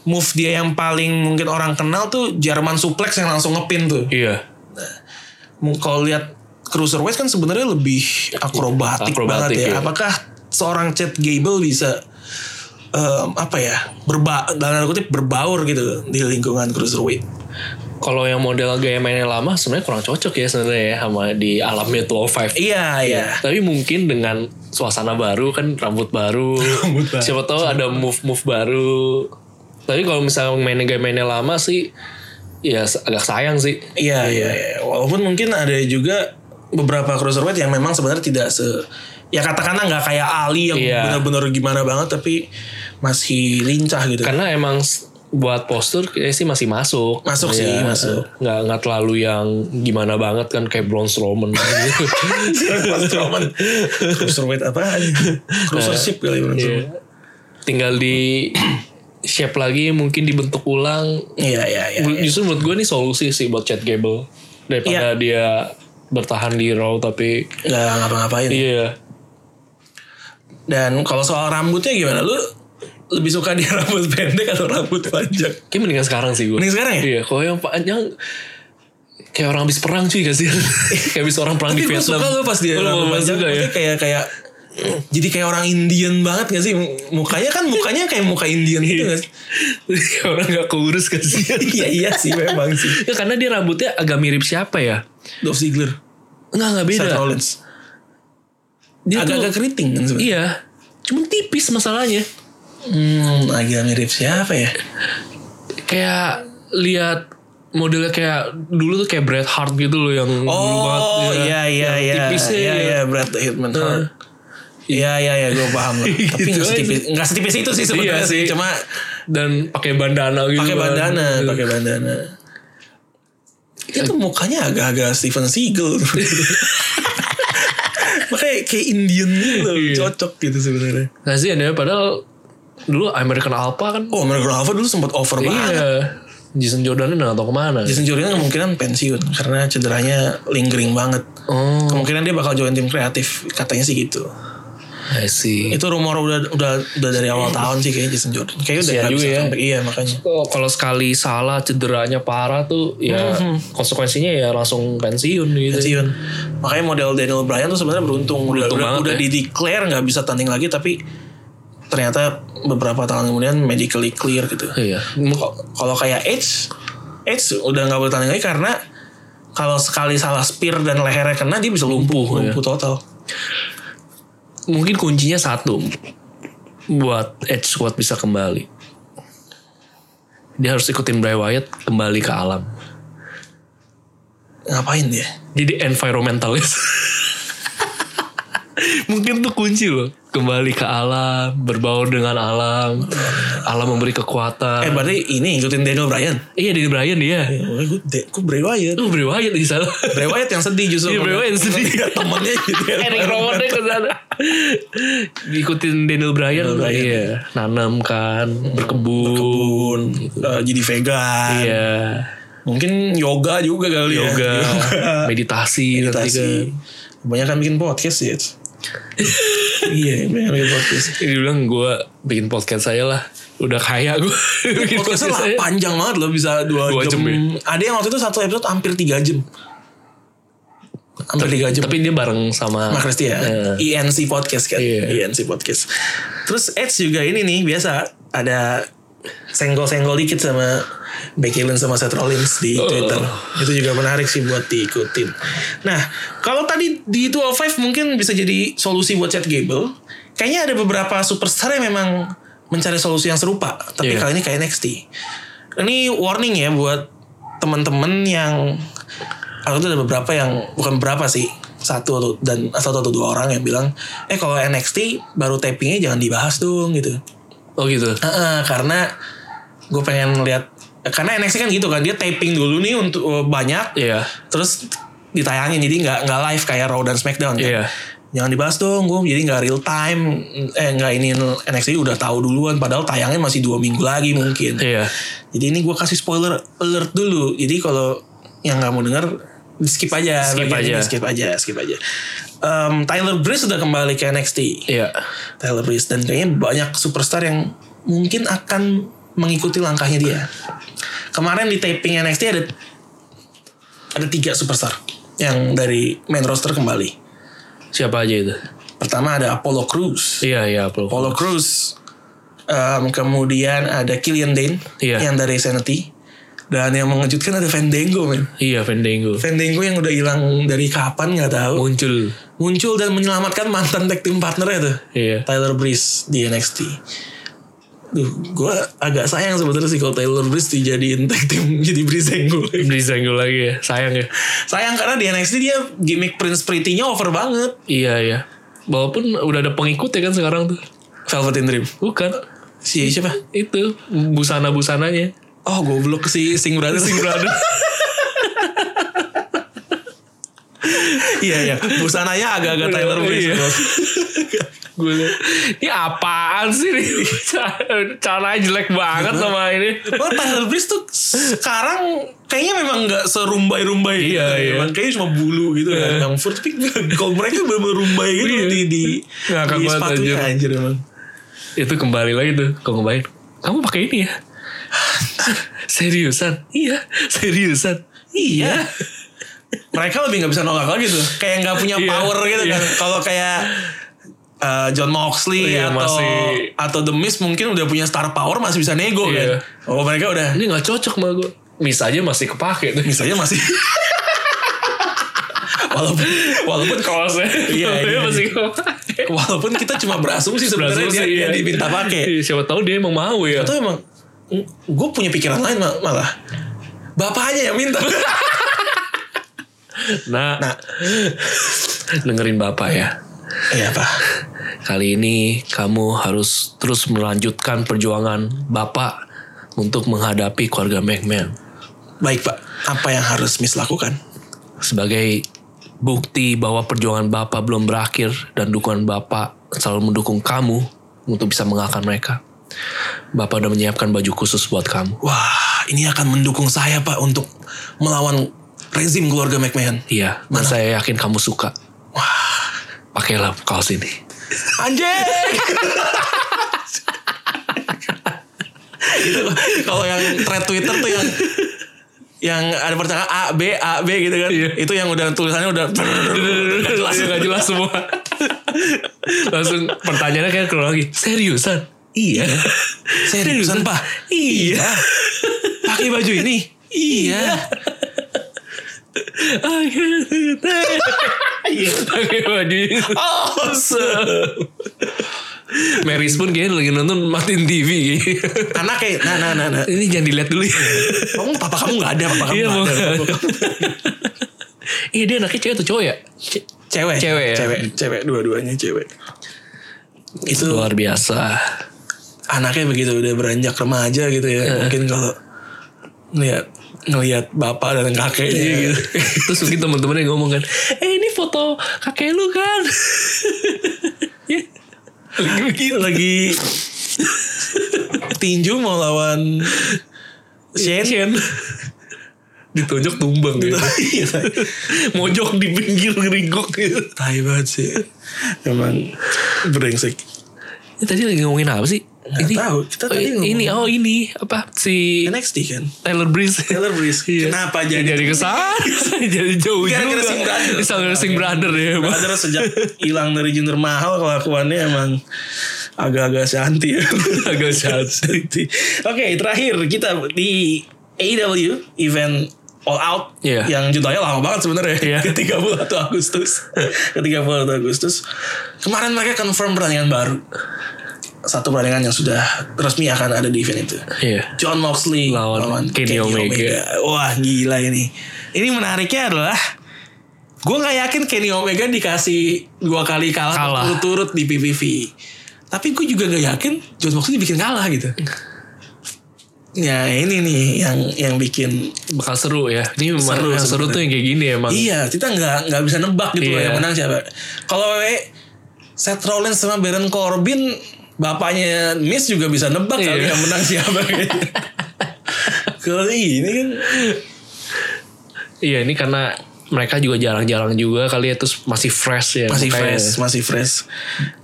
S1: Move dia yang paling mungkin orang kenal tuh Jerman suplex yang langsung ngepin tuh.
S2: iya.
S1: Mu- Kalau lihat cruiserweight kan sebenarnya lebih akrobatik,
S2: Akrobatik,
S1: banget ya.
S2: iya.
S1: Apakah seorang Chad Gable bisa em, apa ya berba dalam tanda kutip berbaur gitu di lingkungan cruiserweight?
S2: Kalau yang model gaya mainnya lama sebenarnya kurang cocok ya sebenarnya ya sama di alamnya 205.
S1: Iya iya.
S2: Tapi mungkin dengan suasana baru kan rambut baru.
S1: Rambut baru.
S2: Siapa tahu ada move-move baru. Tapi kalau misalnya mainnya gaya mainnya lama sih ya se- agak sayang sih.
S1: Iya iya. iya. Walaupun mungkin ada juga beberapa cruiserweight yang memang sebenarnya tidak se ya katakanlah nggak kayak Ali yang
S2: Iya.
S1: benar-benar gimana banget tapi masih lincah gitu.
S2: Karena emang s- buat postur kayaknya sih masih masuk. Iya.
S1: Masuk sih, masuk.
S2: Nggak, nggak terlalu yang gimana banget kan kayak Braun Strowman. gitu.
S1: Braun Strowman. Cruiserweight apaan? Cruisership kali ya, Braun Strowman.
S2: Tinggal di shape lagi mungkin dibentuk ulang
S1: Iya iya iya.
S2: Bu- Justru menurut gue ini solusi sih buat Chad Gable
S1: Iya.
S2: daripada dia bertahan di Raw tapi
S1: Gak ngapa-ngapain.
S2: iya
S1: Dan kalau soal rambutnya gimana? Lu lebih suka dia rambut pendek atau rambut panjang?
S2: kayak mendingan sekarang sih gue.
S1: Mending sekarang ya?
S2: Iya, kalau yang panjang kayak orang habis perang cuy gak sih? kayak habis orang perang
S1: Tapi
S2: di
S1: gue
S2: Vietnam.
S1: suka lo pas dia
S2: Lu
S1: rambut
S2: mau
S1: panjang
S2: juga ya.
S1: maksudnya kayak kayak jadi kayak orang Indian banget gak sih? Mukanya kan mukanya kayak muka Indian gitu gak sih?
S2: Kayak orang gak keurus kasihan.
S1: Iya iya sih memang sih.
S2: ya karena dia rambutnya agak mirip siapa ya?
S1: Dolph Ziggler,
S2: Enggak, enggak beda.
S1: Seth Rollins.
S2: Iya. Dia tuh-
S1: Agak-agak keriting kan sebenarnya.
S2: Iya. Cuman tipis masalahnya.
S1: Hmm, agak mirip siapa ya?
S2: Kayak lihat modelnya kayak dulu tuh kayak Bret Hart gitu loh yang dulu banget.
S1: Oh
S2: ya.
S1: iya iya
S2: Yang
S1: iya.
S2: tipisnya
S1: Iya
S2: ya.
S1: iya Brad the Hitman Hart. Iya iya iya gue paham lah. Tapi
S2: Gitu
S1: nggak
S2: aja.
S1: setipis nggak setipis itu sih sebenarnya
S2: Iya
S1: sih.
S2: sih.
S1: Cuma
S2: dan pakai bandana gitu
S1: pakai
S2: kan.
S1: bandana, pakai bandana. Itu mukanya agak-agak Steven Seagal. Makanya kayak Indian gitu,
S2: Iya.
S1: cocok gitu sebenarnya.
S2: Nah sih, ya, padahal dulu American Alpha kan
S1: Oh, American Alpha dulu sempat over banget.
S2: iya Jason Jordan udah gak tau kemana.
S1: Jason Jordan kemungkinan pensiun karena cederanya lingering banget.
S2: Oh,
S1: Kemungkinan dia bakal join tim kreatif, katanya sih gitu.
S2: I see.
S1: Itu rumor udah udah udah dari awal tahun sih kayaknya Jason Jordan. Kayaknya udah
S2: Kesian
S1: nggak
S2: juga
S1: bisa
S2: ya.
S1: comeback. Iya makanya.
S2: Oh, kalau sekali salah cederanya parah tuh ya konsekuensinya ya langsung pensiun gitu.
S1: Mhm. pensiun. Makanya model Daniel Bryan tuh sebenarnya beruntung, udah
S2: Beruntung
S1: udah,
S2: banget
S1: udah
S2: ya.
S1: di declare nggak bisa tanding lagi tapi ternyata beberapa tahun kemudian medically clear gitu.
S2: Iya.
S1: Kok- Kalau kayak Edge, Edge udah nggak boleh tanding lagi karena kalau sekali salah spear dan lehernya kena dia bisa lumpuh,
S2: Lumpuh, iya.
S1: lumpuh total.
S2: Mungkin kuncinya satu buat Edge Squad bisa kembali. Dia harus ikutin Bray Wyatt kembali ke alam.
S1: Ngapain dia?
S2: Jadi environmentalist. Mungkin tuh kunci loh. Kembali ke alam, berbaur dengan alam. Alam memberi kekuatan.
S1: Eh berarti ini ngikutin Daniel Bryan.
S2: iya, Daniel Bryan dia.
S1: Eh, Gue de- gue Bray Wyatt.
S2: Lu Bray Wyatt di sana.
S1: Bray Wyatt yang sedih justru.
S2: Iya, Bray Wyatt yang sedih.
S1: Iya, Temennya gitu.
S2: Eric Rowan ke sana. Ikutin Daniel Bryan.
S1: Bryan.
S2: Iya. Nanam kan, berkebun.
S1: Kebun, eh, jadi vegan.
S2: Gitu. Iya.
S1: Mungkin yoga juga kali ya.
S2: Yoga, meditasi, nanti kan.
S1: meditasi. Kebanyakan bikin podcast ya. iya, banyak bikin podcast.
S2: Ini bilang gue bikin podcast saya lah. Udah kaya gue. bikin ya?
S1: Podcastnya lah panjang banget loh bisa dua,
S2: Dua
S1: jam.
S2: jam ya.
S1: Ada yang waktu itu satu episode hampir tiga jam. Hampir tiga jam.
S2: Tapi dia bareng sama
S1: Mak Kristi ya,
S2: Eh,
S1: INC Podcast kan,
S2: Iya.
S1: INC Podcast. Terus Edge juga ini nih biasa ada senggol-senggol dikit sama Becky Lynch sama Seth Rollins di
S2: Oh.
S1: Twitter. Itu juga menarik sih buat diikutin. Nah, kalau tadi di 205 mungkin bisa jadi solusi buat Chad Gable. Kayaknya ada beberapa superstar yang memang mencari solusi yang serupa, tapi
S2: Iya.
S1: kali ini kayak NXT. Ini warning ya buat teman-teman yang aku tuh ada beberapa yang bukan beberapa sih satu atau dan satu atau dua orang yang bilang eh kalau NXT baru tapingnya jangan dibahas dong gitu
S2: Oh gitu.
S1: Heeh, karena gue pengen lihat karena NXT kan gitu kan dia taping dulu nih untuk eh, banyak
S2: Iya.
S1: terus ditayangin jadi nggak nggak live kayak Raw dan SmackDown kan.
S2: Iya.
S1: jangan dibahas dong gue jadi nggak real time eh nggak ini NXT udah tahu duluan padahal tayangnya masih dua minggu lagi mungkin
S2: Iya.
S1: jadi ini gue kasih spoiler alert dulu. Jadi kalau yang nggak mau denger di skip aja,
S2: Skip
S1: bagian
S2: aja.
S1: ini, skip aja, skip aja. Em, Tyler Breeze sudah kembali ke NXT.
S2: Iya.
S1: Tyler Breeze dan kayaknya banyak superstar yang mungkin akan mengikuti langkahnya dia. Kemarin di taping NXT ada ada tiga superstar yang dari main roster kembali.
S2: Siapa aja itu?
S1: Pertama ada Apollo Crews.
S2: Iya iya Apollo.
S1: Apollo Crews. Em, kemudian ada Killian Dane
S2: Iya.
S1: yang dari Sanity. Dan yang mengejutkan ada Fandango men.
S2: Iya Fandango.
S1: Fandango yang udah hilang dari kapan nggak tahu.
S2: Muncul.
S1: Muncul dan menyelamatkan mantan tag team partnernya tuh.
S2: Iya.
S1: Tyler Breeze di NXT. Duh, gue agak sayang sebenarnya sih kalau Tyler Breeze dijadiin tag team jadi Breezango.
S2: Beli Zango lagi ya. Sayang ya.
S1: Sayang karena di NXT dia gimmick Prince Pretty-nya over banget.
S2: Iya iya. Walaupun udah ada pengikut ya kan sekarang tuh.
S1: Velvet Dream.
S2: Bukan.
S1: Si siapa?
S2: Itu busana-busananya.
S1: Oh, goblok si Sing Brothers.
S2: Sing Brothers.
S1: Iya iya, busananya agak-agak
S2: Iya,
S1: Tyler Breeze.
S2: iya.
S1: Bos.
S2: Gue liat, ini apaan sih nih? Caranya jelek banget sama ini.
S1: Padahal Tyler Breeze tuh sekarang kayaknya memang nggak serumbai-rumbai
S2: Iya,
S1: gitu.
S2: iya.
S1: Emang kayaknya cuma bulu gitu kan. Yang fur tapi kalau mereka bener-bener rumbai gitu
S2: Iya.
S1: di di,
S2: Ngakak
S1: di
S2: banget,
S1: sepatunya
S2: anjir.
S1: anjir emang.
S2: Itu kembali lagi tuh. Kau ngebayang. Kamu pakai ini ya? seriusan? Iya. Seriusan? Iya.
S1: Mereka lebih nggak bisa nolak lagi tuh. Kayak nggak punya
S2: Iya,
S1: power gitu kan.
S2: iya.
S1: Kalau kayak eh, John Moxley atau
S2: Iya, masih-
S1: atau The Miz mungkin udah punya star power masih bisa nego kan.
S2: Iya.
S1: Oh mereka udah
S2: Ini gak cocok sama gue. Miss aja masih kepake tuh.
S1: misalnya masih walaupun walaupun
S2: kaosnya.
S1: Iya, iya.
S2: Masih kepake.
S1: walaupun kita cuma berasumsi sebenarnya dia,
S2: Berasumsi,
S1: dia
S2: iya.
S1: diminta pakai.
S2: Iya, Siapa tahu dia emang mau ya.
S1: Atau emang gue punya pikiran lain mal- malah bapaknya yang minta.
S2: Nah,
S1: Nah.
S2: dengerin bapak ya.
S1: Iya pak.
S2: Kali ini kamu harus terus melanjutkan perjuangan bapak untuk menghadapi keluarga McMahon
S1: Baik pak. Apa yang harus Miss lakukan?
S2: sebagai bukti bahwa perjuangan bapak belum berakhir dan dukungan bapak selalu mendukung kamu untuk bisa mengalahkan mereka. Bapak udah menyiapkan baju khusus buat kamu.
S1: Wah. wah ini akan mendukung saya pak untuk melawan rezim keluarga McMahon.
S2: Iya, dan saya yakin kamu suka. Wah, pakailah kaos ini.
S1: Anjing. itu kalau yang thread Twitter tuh yang yang ada pertanyaan A B A B gitu kan.
S2: Iya.
S1: Itu yang udah tulisannya udah
S2: Gak jelas, gak jelas semua. Langsung pertanyaannya kayak keluar lagi. Seriusan? Iya.
S1: Seriusan pak?
S2: Iya.
S1: Pakai baju ini? Iya.
S2: Iya. Pakai baju itu. Marys pun kayaknya lagi nonton matiin TV. kayaknya.
S1: Karena kayak nah nah nah nah.
S2: Ini jangan dilihat dulu ya.
S1: Kamu papa kamu nggak ada, papa kamu
S2: Iya,
S1: nggak
S2: mau.
S1: ada.
S2: Iya dia anaknya cewek atau cowok ya?
S1: Cewek,
S2: Cewek ya?
S1: cewek, cewek, dua-duanya cewek. Itu
S2: Luar biasa.
S1: anaknya begitu udah beranjak remaja gitu ya
S2: Iya.
S1: mungkin kalau ngelihat ngelihat bapak dan kakeknya
S2: Iya.
S1: gitu
S2: Terus mungkin teman-temannya ngomong kan, eh ini foto kakek lu kan. Ya. Lagi begitu.
S1: lagi tinju mau lawan Iya, Shane
S2: Shen. Ditonjok tumbang gitu.
S1: Iya.
S2: Mojok di pinggir geringkok gitu.
S1: tai banget sih emang brengsek
S2: Ini tadi lagi ngomongin apa sih?
S1: Nggak tahu, kita tadi
S2: oh, ini oh ini apa si
S1: NXT kan
S2: Taylor Breeze.
S1: Taylor Iya, Breeze kenapa
S2: jadi
S1: jadi
S2: jadi kesana jadi jauh
S1: Gara-gara
S2: juga.
S1: Sing Brother.
S2: Gara-gara Sing Brother ya. Bang.
S1: Padahal sejak hilang dari Jinder Mahal kelakuannya emang agak-agak shanti ya.
S2: Agak
S1: shanti. Oke, terakhir kita di AEW event All Out
S2: Iya.
S1: yang judulnya lama banget sebenarnya.
S2: Iya.
S1: Ke 31 Agustus. Ke 31 Agustus. Kemarin mereka confirm pertandingan baru. Satu pertandingan yang sudah resmi akan ada di event itu.
S2: Iya.
S1: John Moxley
S2: Lawan Kenny Omega.
S1: Wah gila ini. Ini menariknya adalah gue nggak yakin Kenny Omega dikasih dua kali kalah,
S2: Kalah.
S1: turut-turut di PPV. Tapi gue juga nggak yakin John Moxley dibikin kalah gitu. Ya ini nih yang yang bikin
S2: Bakal seru ya. Ini memang
S1: Seru,
S2: yang seru
S1: sebenarnya.
S2: tuh yang kayak gini ya, emang.
S1: iya kita nggak nggak bisa nebak gitu loh
S2: Iya.
S1: yang menang siapa. Kalau WWE Seth Rollins sama Baron Corbin bapaknya Miss juga bisa nebak kali
S2: Iya.
S1: yang menang siapa gitu. Kalau ini kan
S2: Iya ini karena mereka juga jarang-jarang juga kali ya terus masih fresh ya.
S1: masih
S2: makanya.
S1: fresh, masih fresh.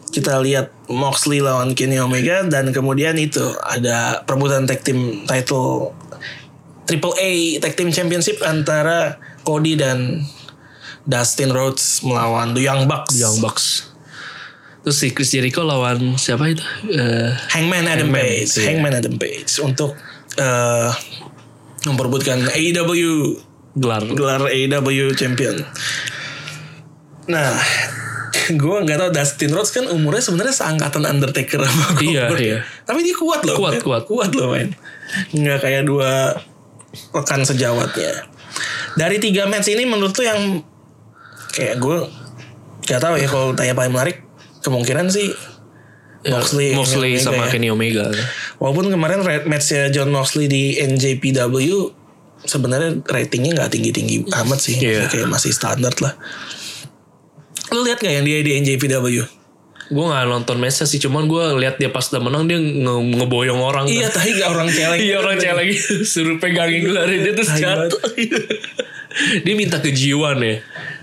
S1: Kita lihat Moxley lawan Kenny Omega dan kemudian itu ada perebutan tag team title Triple A Tag Team Championship antara Cody dan Dustin Rhodes melawan The Young Bucks.
S2: Young Bucks. Terus si Chris Jericho lawan siapa itu? Eh,
S1: Hangman Adam
S2: Hangman,
S1: Page,
S2: iya.
S1: Hangman Adam Page untuk eh, memperebutkan E AEW
S2: gelar.
S1: gelar AEW champion. Nah, gue nggak tahu Dustin Rhodes kan umurnya sebenarnya seangkatan Undertaker sama gua.
S2: Iya, iya.
S1: Tapi dia kuat loh. men.
S2: Kuat, kuat.
S1: kuat loh main. Nggak kayak dua rekan sejawatnya. Dari tiga match ini menurut tuh yang kayak gue nggak tahu ya kalau tanya paling menarik kemungkinan sih Moxley,
S2: Ya, Moxley
S1: Omega
S2: sama
S1: ya.
S2: Kenny Omega.
S1: Walaupun kemarin ra- matchnya John Moxley di NJPW sebenarnya ratingnya nggak tinggi-tinggi amat sih,
S2: Iya.
S1: kayak masih standar lah. Lu lihat nggak yang dia di NJPW?
S2: Gue gak nonton matchnya sih Cuman gue lihat dia pas udah menang Dia nge- ngeboyong orang kan.
S1: Iya, gitu. tapi nggak orang celeng.
S2: Iya orang cewek lagi suruh pegangin gelarnya dia terus
S1: Tai banget.
S2: jatuh. dia minta kejiwaan ya.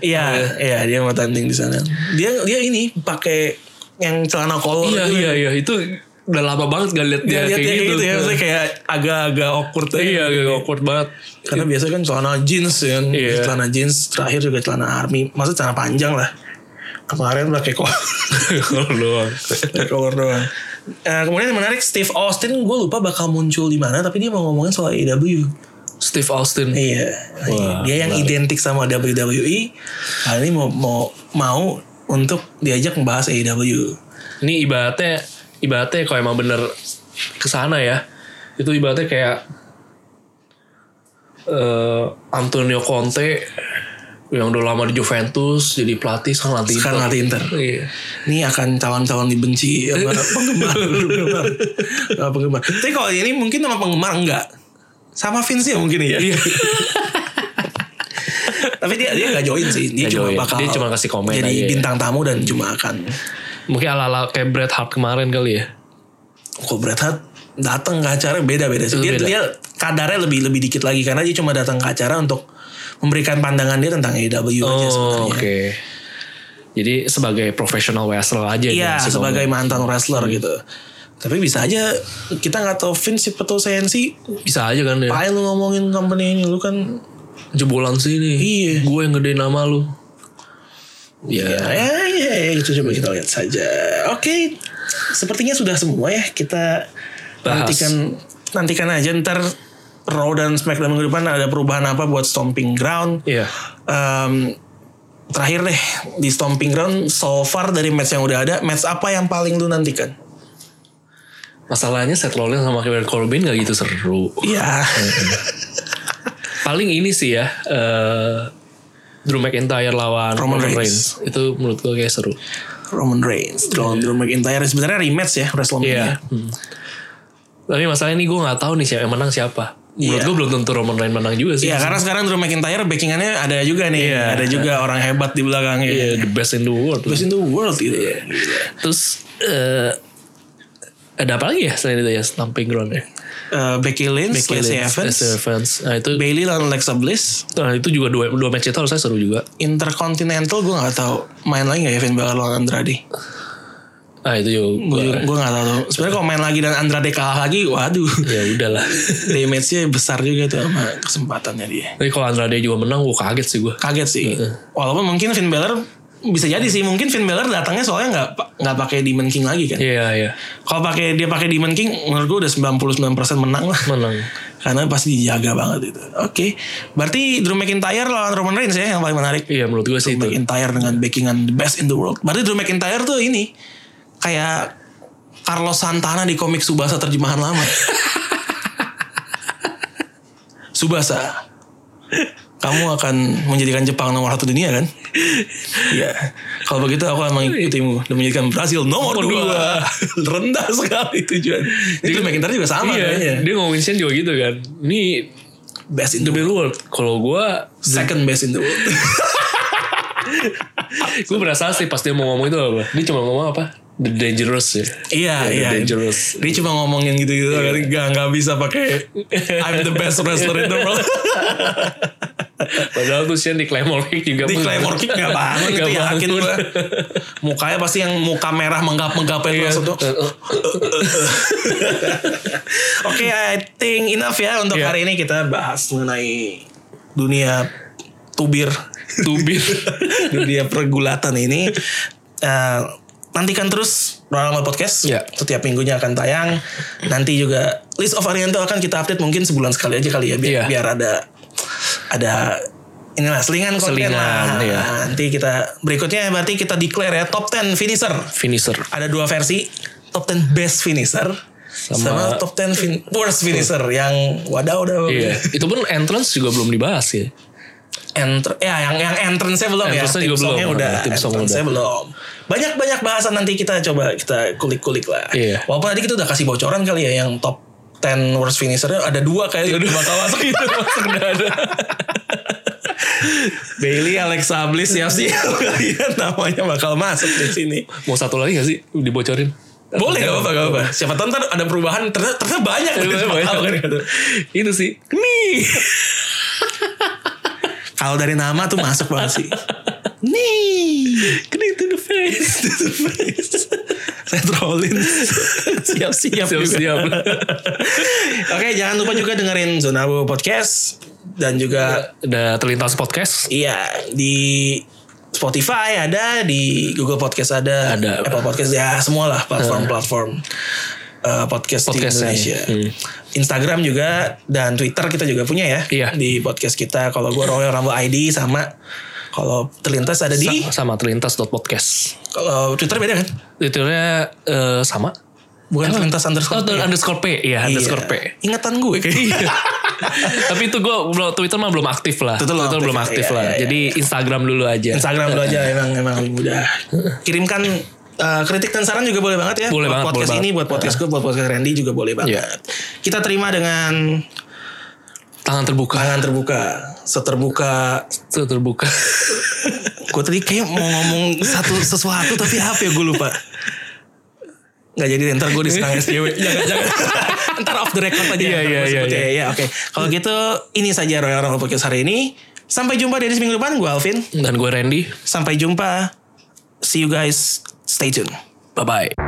S1: Iya, iya dia mau tanding di sana. Dia dia ini pakai yang celana kolor.
S2: Iya
S1: gitu.
S2: iya iya itu udah lama banget gak lihat
S1: Dia
S2: dia,
S1: lihat
S2: kayak
S1: kayak
S2: gitu.
S1: gitu ya, maksudnya kayak agak-agak awkward aja. gitu.
S2: Iya agak awkward banget.
S1: Karena biasanya kan celana jeans ya, kan.
S2: Iya.
S1: celana jeans terakhir juga celana army, maksudnya celana panjang lah. Kemarin pakai kolor.
S2: Kalau doang.
S1: Color doang. Eh, kemudian yang menarik Steve Austin gue lupa bakal muncul di mana tapi dia mau ngomongin soal AEW.
S2: Steve Austin.
S1: Iya.
S2: Wah,
S1: dia yang identik sama WWE. Kali ini mau mau mau untuk diajak membahas E AEW.
S2: Ini ibaratnya ibaratnya kalau emang bener kesana ya itu ibaratnya kayak eh, Antonio Conte yang udah lama di Juventus jadi pelatih sekarang latih
S1: Sekarang latih Inter.
S2: Iya.
S1: Ini akan calon-calon dibenci sama penggemar, penggemar, sama penggemar. Tapi kalau ini mungkin sama penggemar enggak. Sama Vince ya mungkin ya.
S2: Iya.
S1: Tapi dia dia nggak join sih. Dia
S2: Nggak
S1: cuma
S2: join.
S1: bakal
S2: Dia cuma kasih komen
S1: jadi
S2: aja ya.
S1: bintang tamu dan cuma akan
S2: Mungkin ala-ala kayak Bret Hart kemarin kali ya.
S1: Kok Bret Hart datang ke acara beda-beda sih.
S2: Itu
S1: Dia,
S2: beda.
S1: dia kadarnya lebih lebih dikit lagi karena dia cuma datang ke acara untuk memberikan pandangan dia tentang AEW aja
S2: Oh,
S1: iya, sebenarnya.
S2: oke. Jadi sebagai profesional wrestler aja ya,
S1: Iya
S2: dia maksud
S1: sebagai mantan wrestler gitu. Tapi bisa aja kita nggak tahu Vince Peto Sensi.
S2: kamu. bisa aja kan ya.
S1: Pakai lu ngomongin company ini lu kan
S2: Jebolan sini.
S1: Iya.
S2: Gue yang gedein nama lu. Ya.
S1: ya, ya, ya, itu coba kita lihat saja. Oke, sepertinya sudah semua ya kita
S2: Bahas.
S1: nantikan nantikan aja ntar Raw dan SmackDown minggu depan ada perubahan apa buat Stomping Ground.
S2: Iya.
S1: Em, terakhir deh di Stomping Ground so far dari match yang udah ada match apa yang paling lu nantikan?
S2: Masalahnya Seth Rollins sama Kevin Corbin gak gitu seru.
S1: Iya.
S2: Paling ini sih ya. eh Drew McIntyre lawan
S1: Roman
S2: Reigns. Itu menurut gue kayak seru.
S1: Roman Reigns, Drew Drew McIntyre sebenarnya rematch ya WrestleMania.
S2: Iya. Hmm. Tapi masalahnya ini gue gak tahu nih siapa yang menang siapa. Menurut
S1: Iya.
S2: gue belum tentu Roman Reigns menang juga sih.
S1: Iya, karena sekarang Drew McIntyre backingannya ada juga nih,
S2: Iya.
S1: ada juga orang hebat di belakangnya.
S2: Iya, the best in the world.
S1: Best in the world gitu ya.
S2: Terus eh ada apa lagi ya selain itu ya stamping ground ya?
S1: Eh, Becky Lynch,
S2: Becky
S1: Lacey
S2: Lynch,
S1: Evans,
S2: Lacey Evans. Nah itu
S1: Bailey lawan Alexa Bliss,
S2: nah, itu juga dua dua match itu harusnya seru juga.
S1: Intercontinental gue nggak tahu main lagi nggak Evin Balor lawan Andrade.
S2: Ah itu
S1: Gue
S2: juga gua,
S1: gue nggak tahu. Sebenarnya kalau main lagi dan Andrade kalah lagi, waduh,
S2: ya udahlah.
S1: damage-nya besar juga tuh sama kesempatannya dia.
S2: Tapi kalau Andrade juga menang gue kaget sih gue.
S1: Kaget sih. Walaupun mungkin Finn Balor bisa jadi sih mungkin Finn Balor datangnya soalnya nggak pa- nggak pakai Demon King lagi kan.
S2: Iya iya
S1: Kalau pakai dia pakai Demon King menurut gue udah 99% menang lah.
S2: menang.
S1: Karena pasti dijaga banget itu. Oke. Berarti Drew McIntyre lawan Roman Reigns ya yang paling menarik.
S2: Iya menurut gue sih
S1: Drew
S2: itu.
S1: McIntyre dengan backingan the best in the world. Berarti Drew McIntyre tuh ini kayak Carlos Santana di komik Subasa terjemahan lama. Subasa. Kamu akan menjadikan Jepang nomor satu dunia kan? Iya. Kalau begitu aku akan mengikutimu dan menjadikan Brasil nomor,
S2: Nomor
S1: dua.
S2: dua.
S1: Rendah sekali tujuan. Jadi Drew McIntyre juga sama kayaknya.
S2: Iya, dia ngomongin Shane juga gitu kan. Ini
S1: Best in
S2: the
S1: the world.
S2: best world. Kalau gue,
S1: Second best in the world.
S2: gue merasa sih pas dia mau ngomong itu apa? Dia cuma ngomong apa? The dangerous ya.
S1: Iya,
S2: the
S1: iya.
S2: dangerous. Iya.
S1: Dia cuma ngomongin gitu-gitu kan gak, gak bisa pakai I'm the best wrestler in the world.
S2: Padahal tuh Shane di Claymore Kick juga.
S1: Di
S2: menang.
S1: Claymore Kick gak bangun
S2: Nggak
S1: itu yakin
S2: bangun.
S1: gue. Mukanya pasti yang muka merah menggap-menggapin
S2: Iya.
S1: langsung tuh. Oke, I think enough ya untuk
S2: Iya.
S1: hari ini kita bahas mengenai dunia tubir,
S2: Tubir.
S1: dunia pergulatan ini. Eh, nantikan terus Normal Podcast.
S2: Iya.
S1: Setiap minggunya akan tayang. Nanti juga list of Arianto akan kita update mungkin sebulan sekali aja kali ya biar,
S2: Iya.
S1: biar ada ada inilah selingan konten
S2: Selingan,
S1: lah.
S2: iya.
S1: Nanti kita berikutnya berarti kita declare ya top 10 finisher
S2: Finisher.
S1: ada dua versi top 10 best finisher sama,
S2: Sama-
S1: top 10 fin- worst finisher yang wadah udah
S2: Iya. Itu pun entrance juga belum dibahas ya.
S1: Entr- ya yang yang entrance-nya belum
S2: Entrance-nya
S1: ya Theme
S2: juga belum.
S1: song-nya udah
S2: Theme song
S1: entrance-nya belum banyak banyak bahasan nanti kita coba kita kulik-kulik lah
S2: Iya.
S1: walaupun tadi kita udah kasih bocoran kali ya yang top 10 worst finisher ada dua Iya, kayak udah bakal masuk itu
S2: Masuk udah ada.
S1: Bailey Alexa Bliss siap siap kalian namanya bakal masuk di sini
S2: Mau satu lagi gak sih dibocorin?
S1: boleh gak apa-apa gak apa siapa tahu ntar ada perubahan ternyata, ternyata banyak
S2: Boleh, boleh. Iya, Itu sih.
S1: nih kalau dari nama tuh masuk banget sih nih
S2: Kena to the face.
S1: Seth Rollins siap-siap juga.
S2: Siap-siap.
S1: Oke jangan lupa juga dengerin Zona Abu Podcast dan juga
S2: Ada terlintas podcast.
S1: iya di Spotify ada di Google Podcast ada,
S2: Ada.
S1: Apple Podcast ya semualah platform-platform eh, podcast, di
S2: Podcast-nya.
S1: Indonesia. Instagram juga dan Twitter kita juga punya ya
S2: Iya.
S1: di podcast kita. Kalau gue Royal Rumble ID sama kalau terlintas ada di
S2: Sa- Sama terlintas.podcast.
S1: kalau Twitter beda kan?
S2: Twitternya eh, sama.
S1: Bukan terlintas
S2: Oh,
S1: underscore.
S2: tuh, underscore P. Iya, underscore P.
S1: Iya. Ingatan gue kayaknya.
S2: Tapi itu gue Twitter mah belum aktif lah.
S1: Twitter belum
S2: belum
S1: aktif,
S2: aktif
S1: iya,
S2: lah.
S1: iya, iya.
S2: Jadi Instagram dulu aja.
S1: Instagram dulu aja emang emang lebih mudah. Kirimkan eh, kritik dan saran juga boleh banget ya.
S2: Boleh
S1: buat
S2: banget,
S1: podcast
S2: boleh
S1: ini,
S2: banget.
S1: buat podcast gue, buat podcast Randy juga boleh banget.
S2: Iya.
S1: Kita terima dengan
S2: Tangan terbuka.
S1: tangan terbuka, seterbuka.
S2: Tuh, terbuka.
S1: Gue tadi kayak mau ngomong satu sesuatu tapi apa ya gue lupa. Nggak jadi deh, ntar gue diserang SJW. jangan, jangan. ntar off the record aja.
S2: Iya,
S1: ntar
S2: iya,
S1: gua
S2: iya,
S1: sebut ya.
S2: iya.
S1: Iya, oke. Kalau gitu, ini saja Royal Rumble Podcast hari ini. Sampai jumpa di edisi minggu depan. Gue Alvin.
S2: Dan gue Randy.
S1: Sampai jumpa. See you guys. Stay tuned.
S2: Bye-bye.